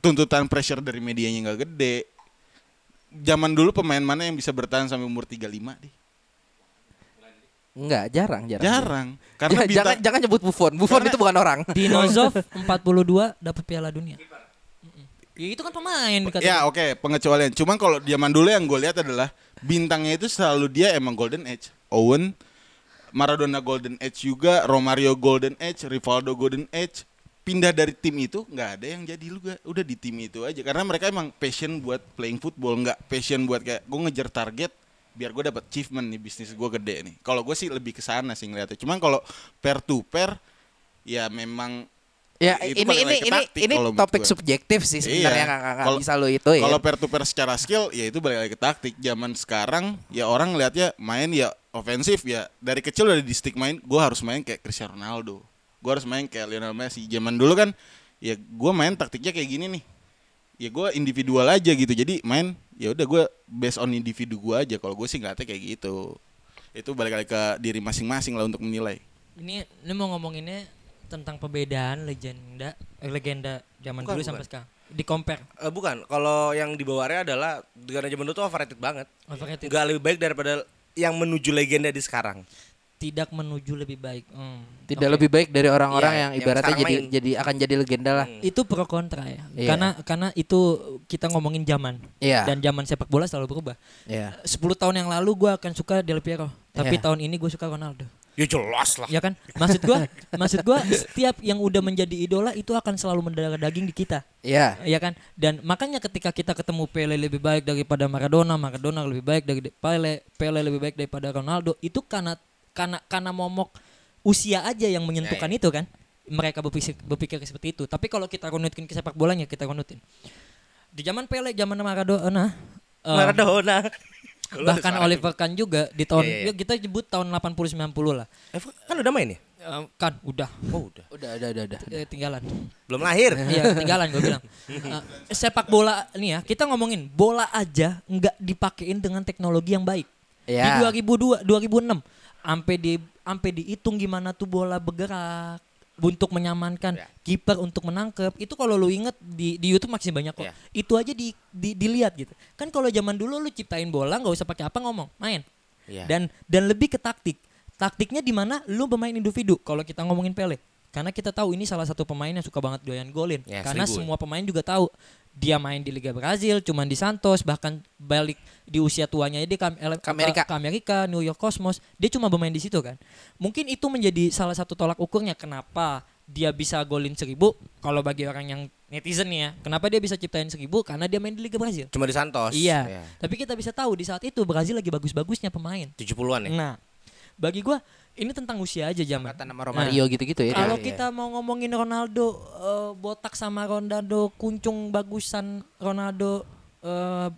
Tuntutan pressure dari medianya nggak gede. Zaman dulu pemain mana yang bisa bertahan sampai umur 35 deh? Enggak, jarang, jarang. Jarang. Karena Ja- bintang, jangan jangan nyebut Buffon. Buffon Karena- itu bukan orang. Dinozov 42 dapat Piala Dunia. Mm-mm. Ya itu kan pemain dikatakan. ya oke pengecualian. Cuman kalau zaman dulu yang gue lihat adalah bintangnya itu selalu dia emang golden age. Owen, Maradona golden age juga, Romario golden age, Rivaldo golden age. Pindah dari tim itu nggak ada yang jadi lu ga- udah di tim itu aja karena mereka emang passion buat playing football nggak passion buat kayak gue ngejar target biar gue dapat achievement nih bisnis gue gede nih. Kalau gue sih lebih ke sana sih ngeliatnya. Cuman kalau pair to pair ya memang Ya, ini Itu balik ini lagi ke ini taktik ini kalau menurut topik gua. subjektif sih sebenarnya nggak nggak- nggak Iya. Kalau- bisa lo itu ya. Kalau pair to pair secara skill ya itu balik lagi ke taktik. Zaman sekarang ya orang ngelihatnya main ya ofensif ya dari kecil udah di stick main gue harus main kayak Cristiano Ronaldo. Gue harus main kayak Lionel Messi. Zaman dulu kan ya gue main taktiknya kayak gini nih. Ya gue individual aja gitu. Jadi main ya udah gue based on individu gue aja. Kalau gue sih ngeliatnya kayak gitu. Itu balik lagi ke diri masing-masing lah untuk menilai. Ini ini mau ngomonginnya tentang perbedaan legenda eh, legenda zaman Bukan, dulu bukan. sampai sekarang. Di compare. Eh, bukan, kalau yang dibawaannya adalah karena zaman dulu tuh overrated banget. Overrated. Gak lebih baik daripada yang menuju legenda di sekarang. Tidak menuju lebih baik. Hmm, Tidak oke. lebih baik dari orang-orang Iya, yang yang ibaratnya sekarang jadi main. jadi akan jadi legenda lah. Hmm. itu pro kontra ya. Iya. Karena karena itu kita ngomongin zaman. Iya. Dan zaman sepak bola selalu berubah. Iya. 10 tahun yang lalu gue akan suka Del Piero, tapi Iya. tahun ini gue suka Ronaldo. Ya jelas lah. Ya kan? Maksud gue, maksud gue setiap yang udah menjadi idola itu akan selalu mendarah daging di kita. Iya. Iya kan? Dan makanya ketika kita ketemu Pele lebih baik daripada Maradona, Maradona lebih baik dari Pele, Pele lebih baik daripada Ronaldo, itu karena karena karena momok usia aja yang menyentuhkan Ya, itu kan. Mereka berpikir, berpikir seperti itu. Tapi kalau kita runutin ke sepak bolanya, kita runutin. Di zaman Pele, zaman Maradona, eh, Maradona. Kalau ada bahkan suara. Oliver Kahn juga di tahun Iya, iya, iya. ya kita nyebut tahun 80 90 lah. Eh, kan udah main ya? Eh, kan udah Oh udah. Udah, udah, udah, udah. eh, tinggalan. Belum lahir. Iya ketinggalan gue bilang. Uh, sepak bola nih ya kita ngomongin bola aja nggak dipakein dengan teknologi yang baik. Iya. Di 2002 2006 sampai di sampai dihitung gimana tuh bola bergerak untuk menyamankan kiper untuk menangkep itu kalau lu inget di di YouTube masih banyak kok Iya. itu aja di, di- dilihat gitu kan kalau zaman dulu lu ciptain bola nggak usah pakai apa ngomong main Iya. dan dan lebih ke taktik taktiknya di mana lu bermain individu kalau kita ngomongin Pele karena kita tahu ini salah satu pemain yang suka banget doyan golin Ya, karena seribu. semua pemain juga tahu dia main di Liga Brazil, cuman di Santos, bahkan balik di usia tuanya dia ke, ele- Ke Amerika. ke Amerika, New York Cosmos, dia cuma bermain di situ kan. Mungkin itu menjadi salah satu tolak ukurnya kenapa dia bisa golin seribu kalau bagi orang yang netizen nih ya, kenapa dia bisa ciptain seribu karena dia main di Liga Brazil. Cuma di Santos. Iya. Tapi kita bisa tahu di saat itu Brazil lagi bagus-bagusnya pemain. 70-an ya. Nah, bagi gua ini tentang usia aja zaman. Kata nama Romario gitu-gitu ya. Nah. Kalau dia. kita mau ngomongin Ronaldo eh, botak sama Ronaldo kuncung bagusan Ronaldo eh,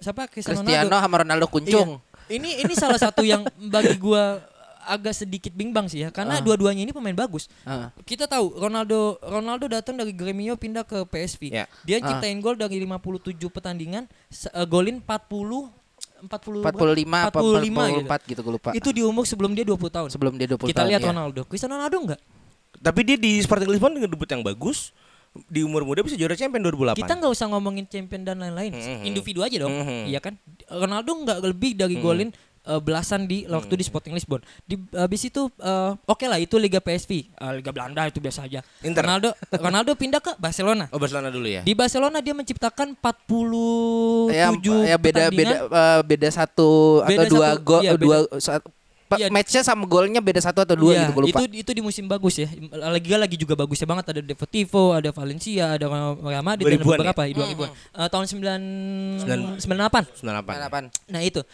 siapa Cristiano, Cristiano Ronaldo. sama Ronaldo kuncung. Iya. Ini ini salah satu yang bagi gua agak sedikit bimbang sih ya karena dua-duanya ini pemain bagus. Ah. Kita tahu Ronaldo Ronaldo datang dari Gremio pindah ke PSV. Ya. Iya. Dia Ah. ciptain gol dari 57 pertandingan se- eh, golin 40 40 berapa? 45 apa 45 gitu. 44 gitu gue lupa. Itu di umur sebelum dia 20 tahun. sebelum dia 20 Kita tahun. lihat ya. Ronaldo. Cristiano Ronaldo enggak? Tapi dia di Sporting Lisbon dengan debut yang bagus. Di umur muda bisa juara champion 2008. Kita nggak usah ngomongin champion dan lain-lain. Mm-hmm. Mhm. Individu aja dong. Mhm. Iya kan? Ronaldo nggak lebih dari golin eh, belasan di waktu Mm-hmm. di Sporting Lisbon. Di habis itu eh, oke lah itu Liga PSV, Eh, Liga Belanda itu biasa aja. Inter. Ronaldo Ronaldo pindah ke Barcelona. Oh Barcelona dulu ya. Di Barcelona dia menciptakan 47 ya, ya beda beda pertandingan. eh, beda satu atau Beda dua satu, gol eh, iya, dua sat- pa- Iya. matchnya sama golnya beda satu atau dua Iya, gitu gue lupa. Itu itu di musim bagus ya. Liga lagi juga bagusnya banget ada Deportivo, ada Valencia, ada Real Madrid dan 2000-an beberapa Mm-hmm. ya? 2000-an. Eh, tahun ya? 9 98. 98. Delapan. Nah itu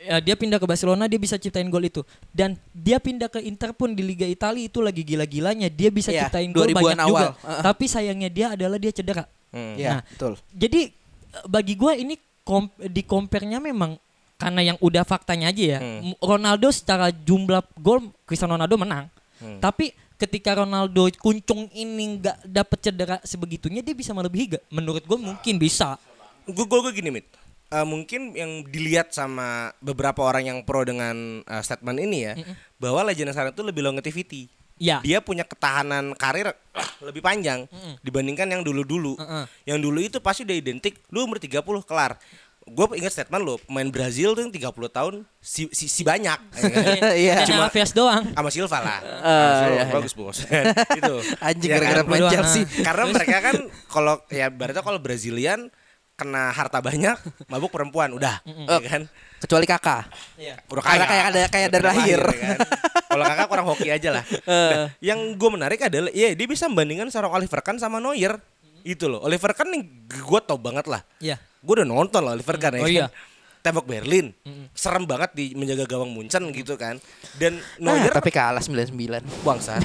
Ya, dia pindah ke Barcelona dia bisa ciptain gol itu dan dia pindah ke Inter pun di Liga Italia itu lagi gila-gilanya dia bisa Iya, ciptain gol 2000-an banyak juga awal. Heeh. tapi sayangnya dia adalah dia cedera Iya, Nah, betul. jadi eh, bagi gua ini kom di compare-nya memang karena yang udah faktanya aja ya Hmm. M- Ronaldo secara jumlah gol Cristiano Ronaldo menang Hmm. tapi ketika Ronaldo kuncung ini nggak dapet cedera sebegitunya dia bisa melebihi gak? menurut gua mungkin bisa Gue gue gini mit. Eh, mungkin yang dilihat sama beberapa orang yang pro dengan eh, statement ini ya bahwa legenda sekarang itu lebih longevity. ya Dia punya ketahanan karir ah, lebih panjang dibandingkan yang dulu-dulu. Mm-mm. Yang dulu itu pasti udah identik lu umur 30 kelar. Gue ingat statement lo, pemain Brazil tuh yang 30 tahun si si, si banyak. ya kan? Iya. cuma Alves doang sama Silva Eh, lah. Sama Silva, iya, iya. bagus bos. itu. Anjing Ya gara-gara kan? main Berdua, Chelsea. Karena mereka kan kalau ya berarti kalau Brazilian kena harta banyak, mabuk perempuan udah, ya kan? Kecuali kakak. Udah Oh. Karena kayak ada- kayak dari Udah lahir. Eh. ya kan? Kalau kakak kurang hoki aja lah. Nah, yang gue menarik adalah, ya dia bisa membandingkan seorang Oliver Kahn sama Neuer. Itu loh, Oliver Kahn yang gue tau banget lah. Iya. Gue udah nonton loh Oliver Kahn ya Oh kan? iya. Tembok Berlin, serem banget di menjaga gawang Munchen gitu kan. Dan Nah, Neuer tapi kalah 99. bangsa.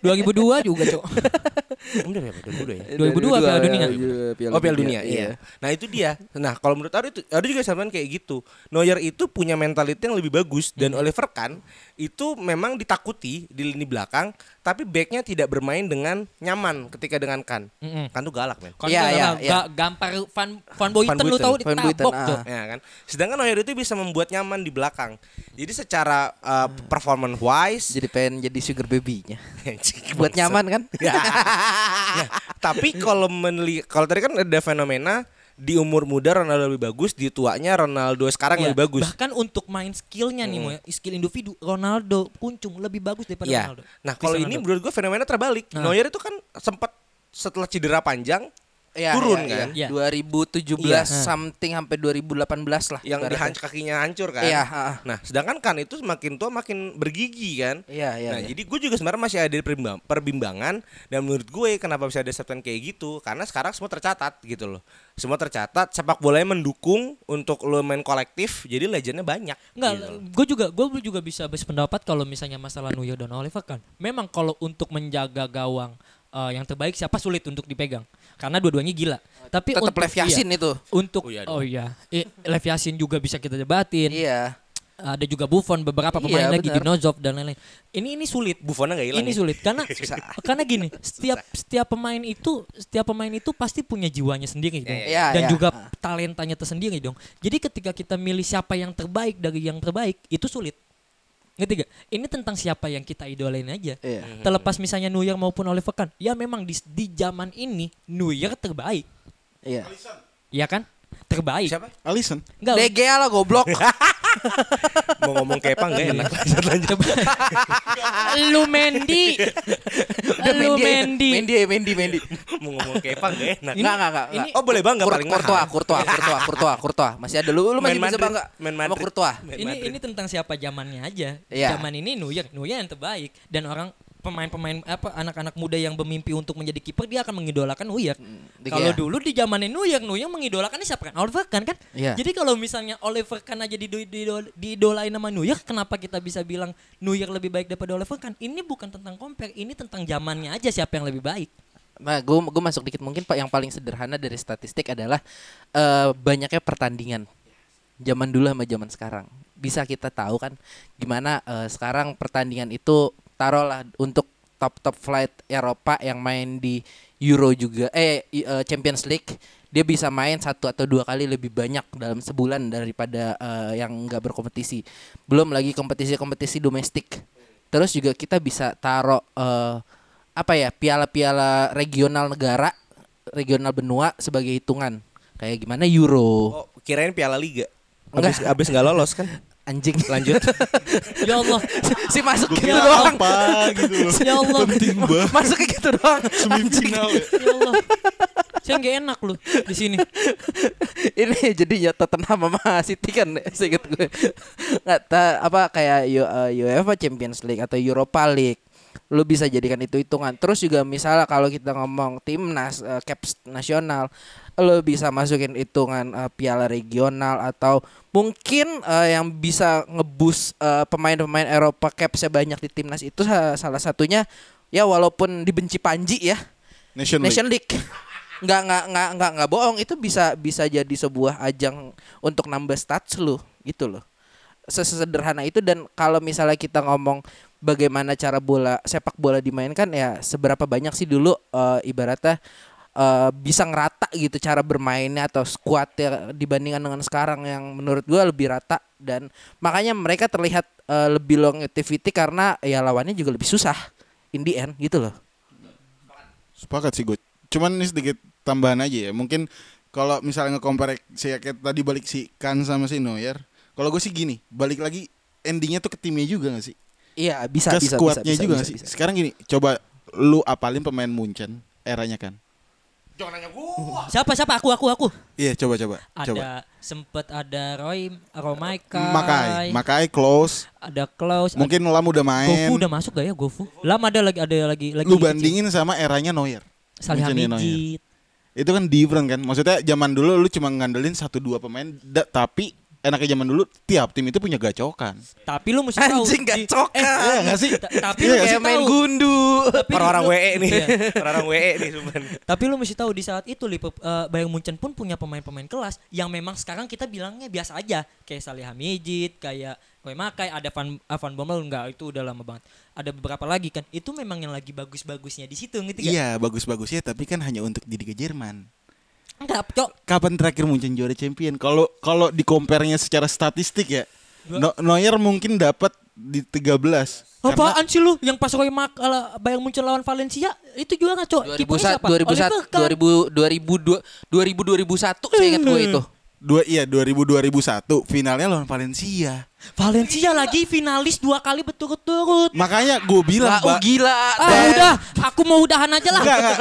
2002 juga, Cok. Kamu dari apa? Dari dulu ya? 2002 Piala Dunia. oh Piala Dunia, iya. Nah itu dia. Nah kalau menurut Ari itu, Ari juga sama kayak gitu. Neuer itu punya mentality yang lebih bagus dan Oliver Kahn itu memang ditakuti di lini belakang, tapi backnya tidak bermain dengan nyaman ketika dengan Kahn. Mm-mm. Kahn tuh galak men. Iya, Kan dia iya, ga- iya. ga- gampar Van Van Boyten Van lu Boyten, tahu Van Boyten, ditabok, Cok. ah. Ya kan. Sedangkan Neuer itu bisa membuat nyaman di belakang. Jadi secara uh, performance wise, Jadi pengen jadi sugar baby-nya. Anjing, Buat bangsat. nyaman kan? Ya. Ya, Tapi kalau meneli kalau tadi kan ada fenomena di umur muda Ronaldo lebih bagus, di tuanya Ronaldo sekarang Iya. lebih bagus. Hmm. Bahkan untuk main skillnya nih, Moy, skill individu Ronaldo kuncung lebih bagus daripada Iya. Ronaldo. Nah, kalau Cristiano ini Ronaldo. menurut gue fenomena terbalik. Nah. Ah. Neuer itu kan sempat setelah cedera panjang Iya, turun iya, kan. iya. 2017 Iya. something sampai 2018 lah. Yang ibaratnya. dihanc kakinya hancur kan. Iya, ah. Nah, sedangkan kan itu semakin tua makin bergigi kan. Iya, iya. nah, iya. jadi gue juga sebenarnya masih ada perbimba- perbimbangan dan menurut gue kenapa bisa ada statement kayak gitu karena sekarang semua tercatat gitu loh. Semua tercatat, sepak bolanya mendukung untuk lo main kolektif, jadi legendnya banyak. Enggak, gitu. gue juga gue juga bisa berpendapat kalau misalnya masalah Neuer dan Oliver kan. Memang kalau untuk menjaga gawang eh, yang terbaik siapa sulit untuk dipegang karena dua-duanya gila. Tapi Tetap untuk Lev Yashin iya, itu. untuk Oh oh iya iya, dong. Eh, Lev Yashin juga bisa kita debatin. Iya. Ada juga Buffon beberapa Iya, pemain lagi benar. Dinozov dan lain-lain. Ini ini sulit. Buffonnya nggak hilang. ini ya? sulit karena karena gini setiap setiap pemain itu setiap pemain itu pasti punya jiwanya sendiri dong iya, dan iya. juga Ah. talentanya tersendiri dong jadi ketika kita milih siapa yang terbaik dari yang terbaik itu sulit ngerti gak? ini tentang siapa yang kita idolain aja Iya. terlepas misalnya Neuer maupun Oliver Kahn ya memang di di zaman ini Neuer terbaik Iya. ya kan terbaik Siapa? Alisson. Enggak, DGA lah goblok. Mau ngomong kepa nggak enak. Lanjut, lanjut. lu Mendy lu Mendy Mendi, Mendi, Mendi. Mau ngomong kepa nggak enak. Enggak, enggak, enggak. ini- Iya. Oh boleh bangga Kur- paling mahal. Courtois, Courtois, Courtois, Courtois, Courtois. Masih ada lu, lu masih Main bisa Madrid, bangga. main sama Madrid. Courtois. Main ini Madrid. ini tentang siapa zamannya aja. Iya. Zaman ini Neuer, Neuer yang terbaik dan orang pemain-pemain apa anak-anak muda yang bermimpi untuk menjadi kiper dia akan mengidolakan Neuer. De Gea. Kalau dulu di zamannya Neuer, Neuer mengidolakannya siapa kan? Oliver Kahn kan? Iya. Jadi kalau misalnya Oliver Kahn aja dido- dido- diidolain sama Neuer, kenapa kita bisa bilang Neuer lebih baik daripada Oliver Kahn? Ini bukan tentang compare, ini tentang zamannya aja siapa yang lebih baik. Nah, gue gue masuk dikit mungkin Pak yang paling sederhana dari statistik adalah eh, banyaknya pertandingan. Zaman dulu sama zaman sekarang. Bisa kita tahu kan gimana eh, sekarang pertandingan itu taruhlah untuk top top flight Eropa yang main di Euro juga eh i- eh, Champions League dia bisa main satu atau dua kali lebih banyak dalam sebulan daripada eh, yang nggak berkompetisi. Belum lagi kompetisi-kompetisi domestik. Terus juga kita bisa taruh eh, apa ya piala-piala regional negara regional benua sebagai hitungan Kayak gimana Euro. Oh, kirain Piala Liga. Enggak. Abis, abis nggak lolos kan? Anjing. Lanjut. Ya Allah. si masuk Gue gitu kira doang. apa gitu loh. Ya Allah. Penting banget Masuknya gitu doang. Anjing. semifinal ya. Ya Allah. Saya nggak enak loh di sini. ini jadinya Tottenham sama City kan seinget gue nggak ta- apa kayak U- eh, UEFA Champions League atau Europa League lu bisa jadikan itu hitungan terus juga misalnya kalau kita ngomong timnas eh, caps nasional lu bisa masukin hitungan eh, piala regional atau mungkin eh, yang bisa ngebus eh, pemain-pemain Eropa capsnya banyak di timnas itu sa- salah satunya ya walaupun dibenci Panji ya Nation League. Nation League. Nggak nggak nggak nggak nggak bohong itu bisa bisa jadi sebuah ajang untuk nambah stats lu gitu loh. Sesederhana itu dan kalau misalnya kita ngomong bagaimana cara bola sepak bola dimainkan ya seberapa banyak sih dulu eh, ibaratnya eh, bisa ngerata gitu cara bermainnya atau squadnya dibandingkan dengan sekarang yang menurut gua lebih rata dan makanya mereka terlihat eh, lebih longevity karena ya lawannya juga lebih susah in the end gitu loh. Sepakat sih gue. Cuman ini sedikit tambahan aja ya. Mungkin kalau misalnya nge-compare si kayak tadi balik si Kan sama si Neuer. Kalau gue sih gini, balik lagi endingnya tuh ke timnya juga gak sih? Iya bisa Ke bisa squadnya bisa, juga bisa, gak sih? bisa. Sekarang gini, coba lu apalin pemain Munchen eranya kan? Siapa siapa aku aku aku. Iya, coba coba. coba. Ada sempet ada Roy, Romaikai, Makai, Makai close. ada Klaus, ada- Mungkin Lam udah main. Gofu udah masuk gak ya Gofu? Lama ada lagi ada lagi lagi lu bandingin iya. sama eranya Neuer. Munchen-nya Neuer. Salihamidzit. itu kan different kan maksudnya zaman dulu lu cuma ngandelin satu dua pemain da- tapi enaknya zaman dulu tiap tim itu punya gacokan Tapi lu mesti tahu Anjing, di- Eh, gak cokan. Iya gak sih? ta- Tapi Iya lu gak mesti Kayak main tahu. gundu. Tapi Orang-orang lu- E WE nih. Iya. Orang-orang WE nih cuman. Tapi lu mesti tahu di saat itu Liverpool, eh, Bayern Munchen pun punya pemain-pemain kelas yang memang sekarang kita bilangnya biasa aja kayak Salihamidzit, kayak Roy Makai, ada Van ah, Van Bommel enggak itu udah lama banget. Ada beberapa lagi kan. Itu memang yang lagi bagus-bagusnya di situ gitu iya bagus-bagus ya tapi kan hanya untuk di Liga Jerman Enggak, Cok. kapan terakhir Munchen juara champion kalau kalau di compare-nya secara statistik ya Dua- No- Neuer mungkin dapat di 13 Karena- Apaan sih lu yang pas Roy Mak ala Bayern Munchen lawan Valencia itu juara, Cok. Kipernya siapa? 2001 Oliver Kahn. 2000 2002 2000 2001 saya ingat Hmm. gue itu. dua iya 2000 2001 finalnya lawan Valencia Valencia lagi finalis dua kali berturut-turut. makanya gue Lah, bilang oh Mbak- gila. Ah, Dan- udah, aku mau udahan aja lah. Enggak, enggak.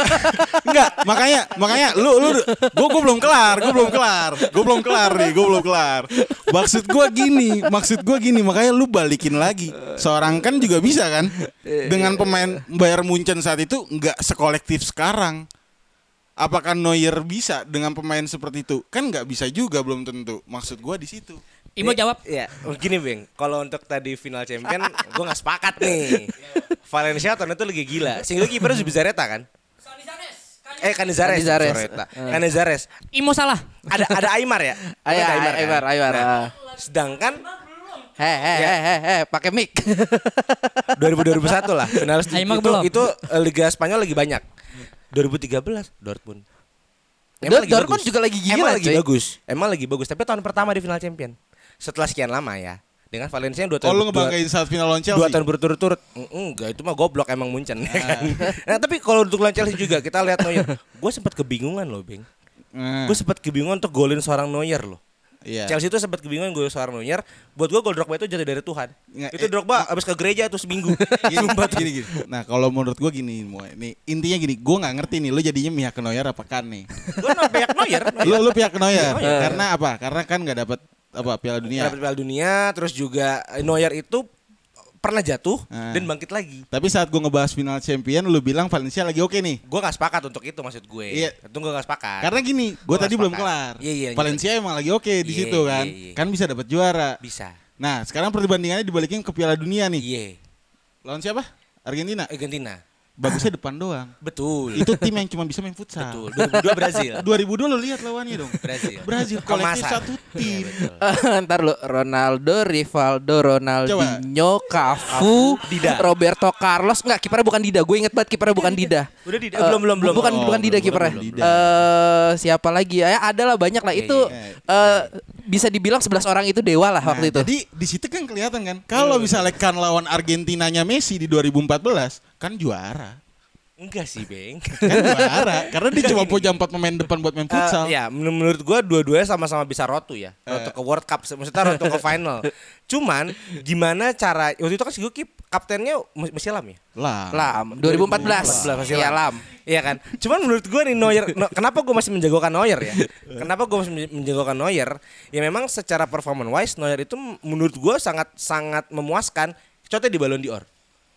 Enggak, makanya makanya lu lu gua gua belum kelar, gua belum kelar. Gua belum kelar nih, gua belum kelar. Maksud gua gini, maksud gua gini, makanya lu balikin lagi. Seorang kan juga bisa kan? Dengan pemain Bayar Munchen saat itu enggak sekolektif sekarang. Apakah Neuer bisa dengan pemain seperti itu? Kan nggak bisa juga belum tentu. Maksud gua di situ. Imo jawab. Iya, gini Beng, kalau untuk tadi final champion gue gak sepakat nih. Valencia tahun itu lagi gila. Sehingga kipernya Zubizarreta kan? Eh Canizares. Canizares. Zubizarreta. Canizares. Imo salah. Ada ada Aimar ya? Ayo, Ada ayo, kan? Aimar, Aimar. Nah, ah. Sedangkan Heh, heh, Ya. heh, heh, heh, pakai mic. 2000-2001 lah finalis itu, Aimar belum. itu eh, Liga Spanyol lagi banyak. 2013 Dortmund. Dor- lagi Dortmund bagus. juga lagi gila, Emang lagi cuy. bagus. Emang lagi bagus, tapi tahun pertama di final champion. Setelah sekian lama ya. Dengan Valencia yang 2 tahun Oh, lu dua- ngebanggain saat final lawan dua Chelsea. tahun berturut-turut Mm, enggak itu mah goblok emang Munchen ya kan? Ah. nah tapi kalau untuk lawan Chelsea juga kita lihat Neuer gue sempat kebingungan loh Bing Nah, gue sempat kebingungan untuk golin seorang Neuer loh iya. Chelsea itu sempat kebingungan golin seorang Neuer buat gue gol Drogba itu jatuh dari Tuhan Nggak, Iya. itu eh, Drogba abis ke gereja tuh seminggu gini, gini, gini. Nah kalau menurut gue gini, Moe. nih intinya gini, gue nggak ngerti nih, lu jadinya mihak ke Neuer apa kan nih? gue nampak Neuer lu lu pihak ke Neuer, Neuer. karena apa? Karena kan nggak dapat apa Piala Dunia. dapat Piala Dunia terus juga eh, Neuer itu pernah jatuh Ah. dan bangkit lagi Tapi saat gue ngebahas final champion, lu bilang Valencia lagi oke nih. gue gak sepakat untuk itu maksud gue Iya. itu gue gak sepakat Karena gini, gue Gua tadi belum sepakat. kelar. Iya, iya, Valencia emang lagi oke di Iya, situ kan, iya, iya. kan bisa dapat juara. bisa Nah sekarang perbandingannya dibalikin ke Piala Dunia nih. iya Lawan siapa? Argentina. Argentina Bagusnya depan doang. betul Itu tim yang cuma bisa main futsal. Betul. 2002 Brazil. 2002 lu lihat lawannya dong. Brazil. Iya, Brazil kolektif Kemasan. satu tim. Ntar lu Ronaldo, Rivaldo, Ronaldinho, Cafu, Dida. Roberto Carlos. Enggak, kipernya bukan Dida. Gue inget banget kipernya bukan Dida. Udah Dida? Eh, Belum, belum, belum. Bukan Oh, bukan Dida belum, kipernya. belum, belum. Eh siapa lagi? Ya ada lah banyak lah Iya, itu eh, bisa dibilang 11 orang itu dewa lah waktu itu. Nah, Jadi di situ kan kelihatan Iya. kan. Kalau misalnya kan lawan Argentinanya Messi di 2014 kan juara. Enggak sih, Beng. Kan juara. Karena dia cuma punya empat pemain depan buat main futsal. Eh, Eh. ya, men- menurut gua dua-duanya sama-sama bisa rotu ya. Rotu ke World Cup, maksudnya rotu ke final. Cuman gimana cara waktu itu kan si Guki kaptennya Mes- Messi Lam ya? Lah. Lam 2014. 2014, Iya, silam. Lam. Iya kan? Cuman menurut gua nih Neuer, no- kenapa gua masih menjagokan Neuer ya? Kenapa gua masih menj- menjagokan Neuer? Ya memang secara performance wise Neuer itu m- menurut gua sangat sangat memuaskan. Contohnya di Ballon d'Or.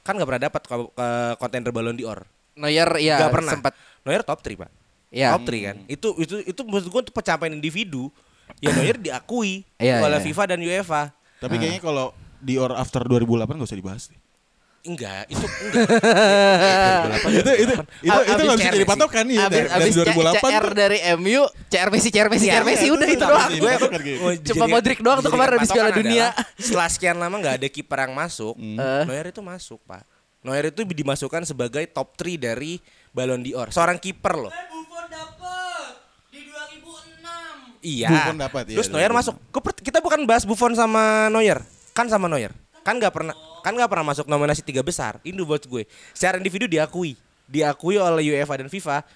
Kan nggak pernah dapat ke, ke kontender Ballon d'Or. Neuer ya Gak pernah. sempat Neuer top 3, Pak. Iya. Top 3 kan. Itu itu itu menurut gua untuk pencapaian individu ya Neuer diakui Iya, oleh iya. FIFA dan UEFA. Tapi kayaknya kalau di or after 2008 gak usah dibahas deh. Enggak, itu enggak. itu itu itu Oh, iya. Abis itu nggak bisa CR jadi Messi. patokan iya abis, dari abis dari 2008 CR tuh. dari MU, CR Messi, CR Messi, CR Messi udah itu doang. Messi. Gue Patokan kayak gitu. Cuma Modric doang tuh kemarin habis Piala Dunia. Hmm. Setelah sekian lama nggak ada kiper yang masuk, Eh. Neuer itu masuk pak. Neuer itu dimasukkan sebagai top 3 dari Ballon d'Or. Seorang kiper loh. Buffon dapet di 2006. Iya. Buffon dapat, iya, Terus Neuer dapat. masuk. Gua per- Kita bukan bahas Buffon sama Neuer, kan sama Neuer. Kan nggak pernah kan nggak pernah masuk nominasi tiga besar. Ini buat gue. Secara individu diakui, diakui oleh UEFA dan FIFA.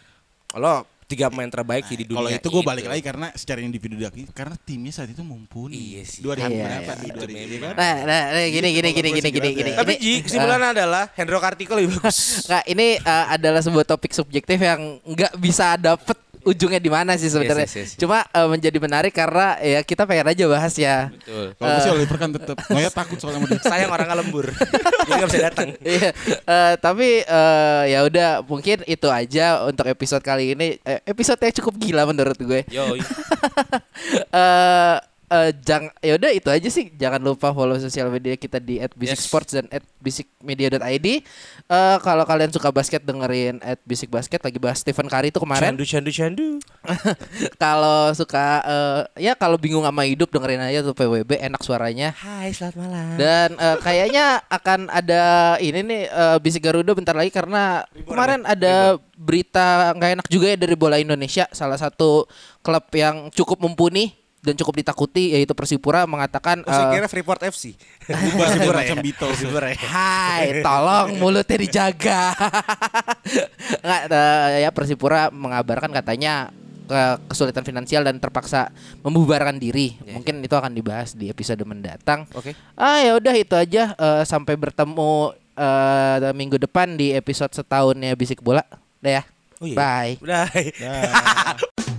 Kalau tiga pemain terbaik sih di Nah, dunia. gitu. Kalau itu gue balik lagi karena secara individu daki karena timnya saat itu mumpuni. Iya sih. 2000 Iya, berapa iya. nih? 2000 kan? Nah, nah, nah, gini gini gini gini gini gini. Tapi Ini, Ji, kesimpulan Eh. adalah Hendro Kartiko lebih bagus. Nggak, ini eh, adalah sebuah topik subjektif yang nggak bisa dapet ujungnya di mana sih sebenarnya. Yes, yes, yes. Cuma eh, menjadi menarik karena ya kita pengen aja bahas ya. Eh. Kalau masih Oliver kan tetap. Noya takut soalnya sama dia. Sayang orang lembur. Jadi nggak bisa datang. Iya, eh, tapi eh, ya udah mungkin itu aja untuk episode kali ini. Eh, episode yang cukup gila menurut gue. Yo, eh eh, jang ya udah itu aja sih jangan lupa follow sosial media kita di @bisiksports dan @bisikmedia.id Eh, kalau kalian suka basket dengerin @bisikbasket lagi bahas Stephen Curry itu kemarin candu, candu, candu. kalau suka eh, ya kalau bingung sama hidup dengerin aja tuh PWB enak suaranya Hai, selamat Hmm. malam. dan eh, kayaknya akan ada ini nih eh, bisik Garuda bentar lagi karena kemarin ada berita nggak enak juga ya dari bola Indonesia. Salah satu klub yang cukup mumpuni dan cukup ditakuti yaitu Persipura mengatakan Oh, saya eh, kira Freeport FC. Ubah Persipura ya? macam Beatles. Persipura ya. Hai, tolong mulutnya dijaga. Nggak, eh, ya Persipura mengabarkan katanya ke kesulitan finansial dan terpaksa membubarkan diri. Mungkin itu akan dibahas di episode mendatang. Oke. Ah ya udah itu aja Eh, sampai bertemu eh, minggu depan di episode setahunnya Bisik Bola. Udah ya. Oh, iya. Bye. Udah. Nah.